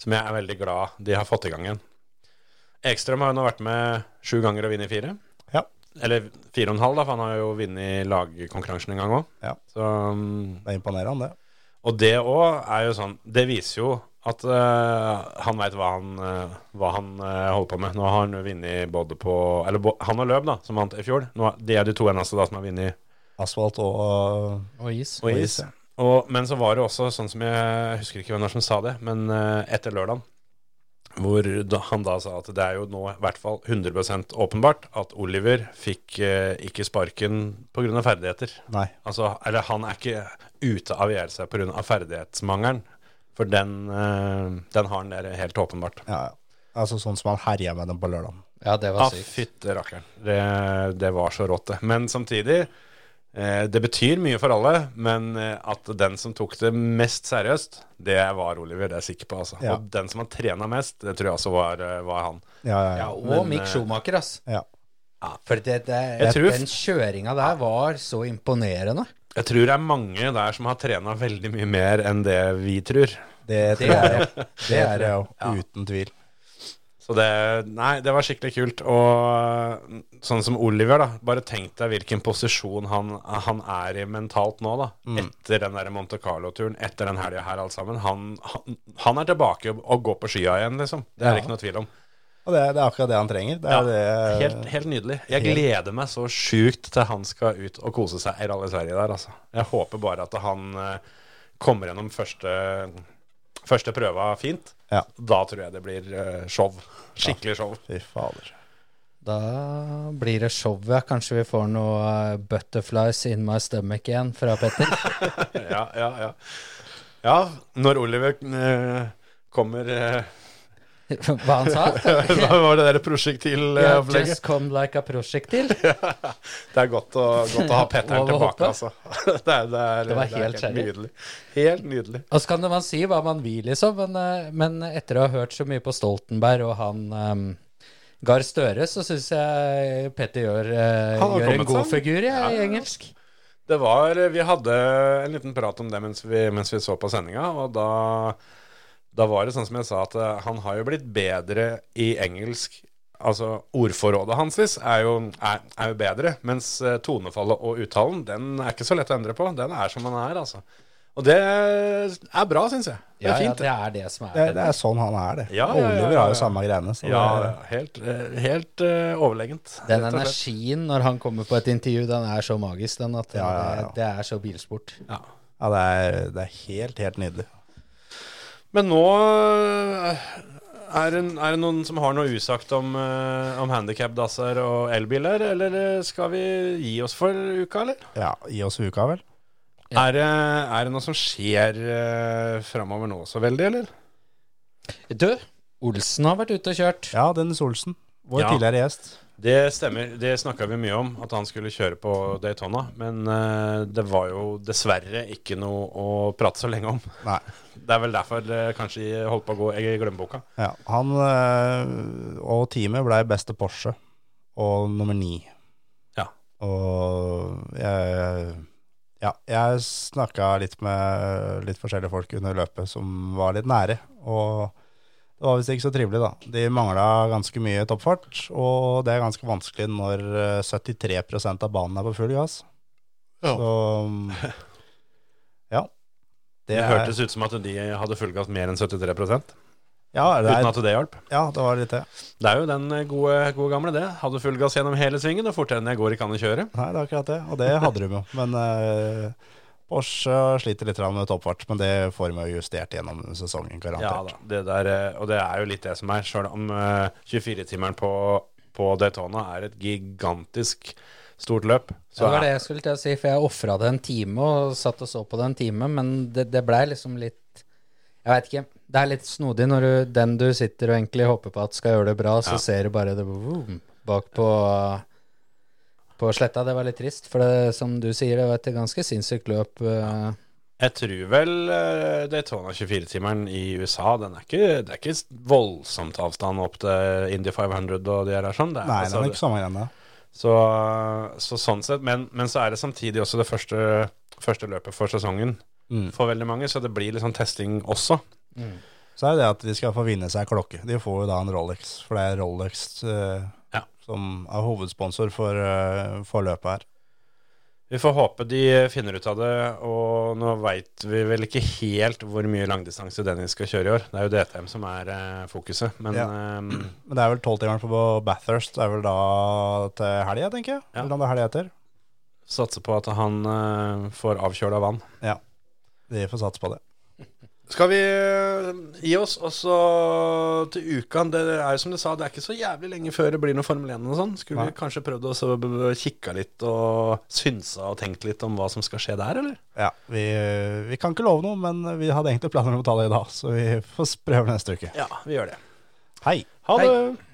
som jeg er veldig glad de har fått i gang igjen. Ekstrøm har jo nå vært med sju ganger og vunnet fire. Ja. Eller fire og en halv, da, for han har jo vunnet lagkonkurransen en gang mm, òg. Ja. Det er imponerende, det. Og det òg er jo sånn Det viser jo at eh, han veit hva han, eh, hva han eh, holder på med. Nå har han jo vunnet både på Eller bo- han og Løb, da, som vant i fjor. Nå, de er de to eneste da som har vunnet Asfalt og Og is. og Og is. is, ja. Og, men så var det også sånn som jeg husker ikke hvem det var som sa det, men eh, etter lørdagen, hvor da, han da sa at det er jo nå i hvert fall 100 åpenbart at Oliver fikk eh, ikke sparken pga. ferdigheter. Nei. Altså, eller han er ikke ute av IRC pga. ferdighetsmangelen, for den, eh, den har han der helt åpenbart. Ja, ja. Altså sånn som han herja med dem på lørdag. Ja, det Ja, var sykt. Ah, fytte rakkeren. Det, det var så rått, det. Men samtidig eh, Det betyr mye for alle, men eh, at den som tok det mest seriøst, det var Oliver. Det er jeg sikker på, altså. Ja. Og den som har trena mest, det tror jeg også var, eh, var han. Ja, ja, Ja, ja. og Men, eh, Mick Schumacher, ass. ja. For det, det, Jeg tror- den kjøringa der var så imponerende. Jeg tror det er mange der som har trena veldig mye mer enn det vi tror. Det Det tror jeg er jo. det. Det tror jeg jo. Uten tvil. Så det Nei, det var skikkelig kult. Og eh, sånn som Oliver, da. Bare tenk deg hvilken posisjon han, han er i mentalt nå, da. Mm. Etter den der Monte Carlo-turen, etter den helga her, alt sammen. Han, han, han er tilbake og- og går på skya igjen, liksom. Det er det ikke noe tvil om. Og det, det er akkurat det han trenger. Det Ja, er det helt, helt nydelig. Jeg gleder meg så sjukt til han skal ut og kose seg i Rally Sverige der, altså. Jeg håper bare at han eh, kommer gjennom første, første prøva fint. Ja. Da tror jeg det blir eh, show. Skikkelig show. Fy fader. Da blir det show, ja. Kanskje vi får noe eh, butterflies in my stomach igjen fra Petter. ja, ja, ja. Ja, når Oliver eh, kommer eh, Hva han sa? Hva var det der Ja, prosjektilopplegget? just come like a prosjektil. det er godt å, godt å ha Petteren Over tilbake, hoppet. altså. det, er, det, er, Det var er helt kjærlig. nydelig. Helt nydelig. Og så kan man si hva man vil, liksom, men, eh, men etter å ha hørt så mye på Stoltenberg og han um, Gahr Støre, så syns jeg Petter gjør, eh, Han har gjør kommet en god seg. figur ja, Ja, ja, i ja. engelsk. Det var, eh, Vi hadde en liten prat om det mens vi, mens vi så på sendinga, og da, da var det sånn som jeg sa, at eh, han har jo blitt bedre i engelsk. Altså, Ordforrådet hans er jo, er, er jo bedre, mens eh, tonefallet og uttalen den er ikke så lett å endre på. Den er som den er, altså. Og det er bra, syns jeg. Det er Ja, ja, fint. det er det som er Det, Petter. det er sånn han er, det. Ja, ja, ja, Oliver ja, ja. har jo samme greiene. Så Ja, det, ja, helt, eh, helt eh, overlegent. rett Den og slett. energien når han kommer på et intervju, den er så magisk, den, at Ja, ja, ja. Det, det er så bilsport. Ja. ja, det, er, det er helt, helt nydelig. Men nå eh, er det, er det noen som har noe usagt om, eh, om handikapdasser og elbiler, eller eh, skal vi gi oss for uka, eller? Ja, Gi oss uka, vel. Er, det, er det noe som skjer uh, framover nå så veldig, eller? Du, Olsen har vært ute og kjørt. Ja, Dennis Olsen. Vår Ja. tidligere gjest. Det stemmer. Det snakka vi mye om, at han skulle kjøre på Daytona. Men eh, det var jo dessverre ikke noe å prate så lenge om. Nei. Det er vel derfor det kanskje holdt på å gå i glemmeboka. Ja, han eh, og teamet ble beste Porsche og nummer ni. Ja. Og jeg, ja, jeg snakka litt med litt forskjellige folk under løpet som var litt nære. Og det var visst ikke så trivelig, da. De mangla ganske mye toppfart, og det er ganske vanskelig når eh, 73 av banen er på full gass. Ja. Så ja. Det er- hørtes ut som at de hadde fullgass mer enn 73 uten ja, det er, at det hjalp. ja, det var litt det. Det er jo den eh, gode, gode gamle, det. Hadde fullgass gjennom hele svingen, og fortere enn jeg går, kan jeg kjøre. Nei, det er akkurat det, og det hadde de jo. Men eh, Porsche sliter litt grann med toppfart, men det får de jo justert gjennom sesongen, Ja garantert. da, det der, eh, og det er jo litt det som er, sjøl om eh, 24-timeren på, på Daytona er et gigantisk stort løp. Så det var det jeg skulle til å si, for jeg ofra det en time og satt og så på det en time, men det, det blei liksom litt Jeg veit ikke. Det er litt snodig når du, den du sitter og egentlig håper på at skal gjøre det bra, så ser du bare det vroom, bak på, på sletta. Det var litt trist, for det, som du sier, det var et ganske sinnssykt løp. eh, Jeg tror vel eh, Daytona 24-timeren i USA den er ikke, Det er ikke voldsomt avstand opp til Indy 500 og de her sånn. Det er, Nei, det altså, er nok samme greiene. så, så sånn sett, men, men så er det samtidig også det første, første løpet for sesongen Mm. for veldig mange, så det blir litt sånn testing også. Så er det det at de skal få vinne seg klokke. De får jo da en Rolex, for det er Rolex eh, Ja. som er hovedsponsor for, eh, for løpet her. Vi får håpe de finner ut av det, og nå veit vi vel ikke helt hvor mye langdistanse Dennis skal kjøre i år. Det er jo DTM som er eh, fokuset, men eh, Men det er vel tolvtimeren på Bathurst, det er vel da til helga, tenker jeg. Ja. Eller om det er helga etter. satser på at han eh, får avkjøla vann. De får satse på det. Skal vi eh, gi oss, og så til uka Det er jo som du sa, det er ikke så jævlig lenge før det blir noe Formel 1 og sånn. Skulle Nei. vi kanskje prøvd å så b- b- kikke litt og synse og tenkt litt om hva som skal skje der, eller? Ja, vi, vi kan ikke love noe, men vi hadde egentlig planer om å ta det i dag, så vi får prøve neste uke. Ja, vi gjør det. Hei! Ha Hei. det!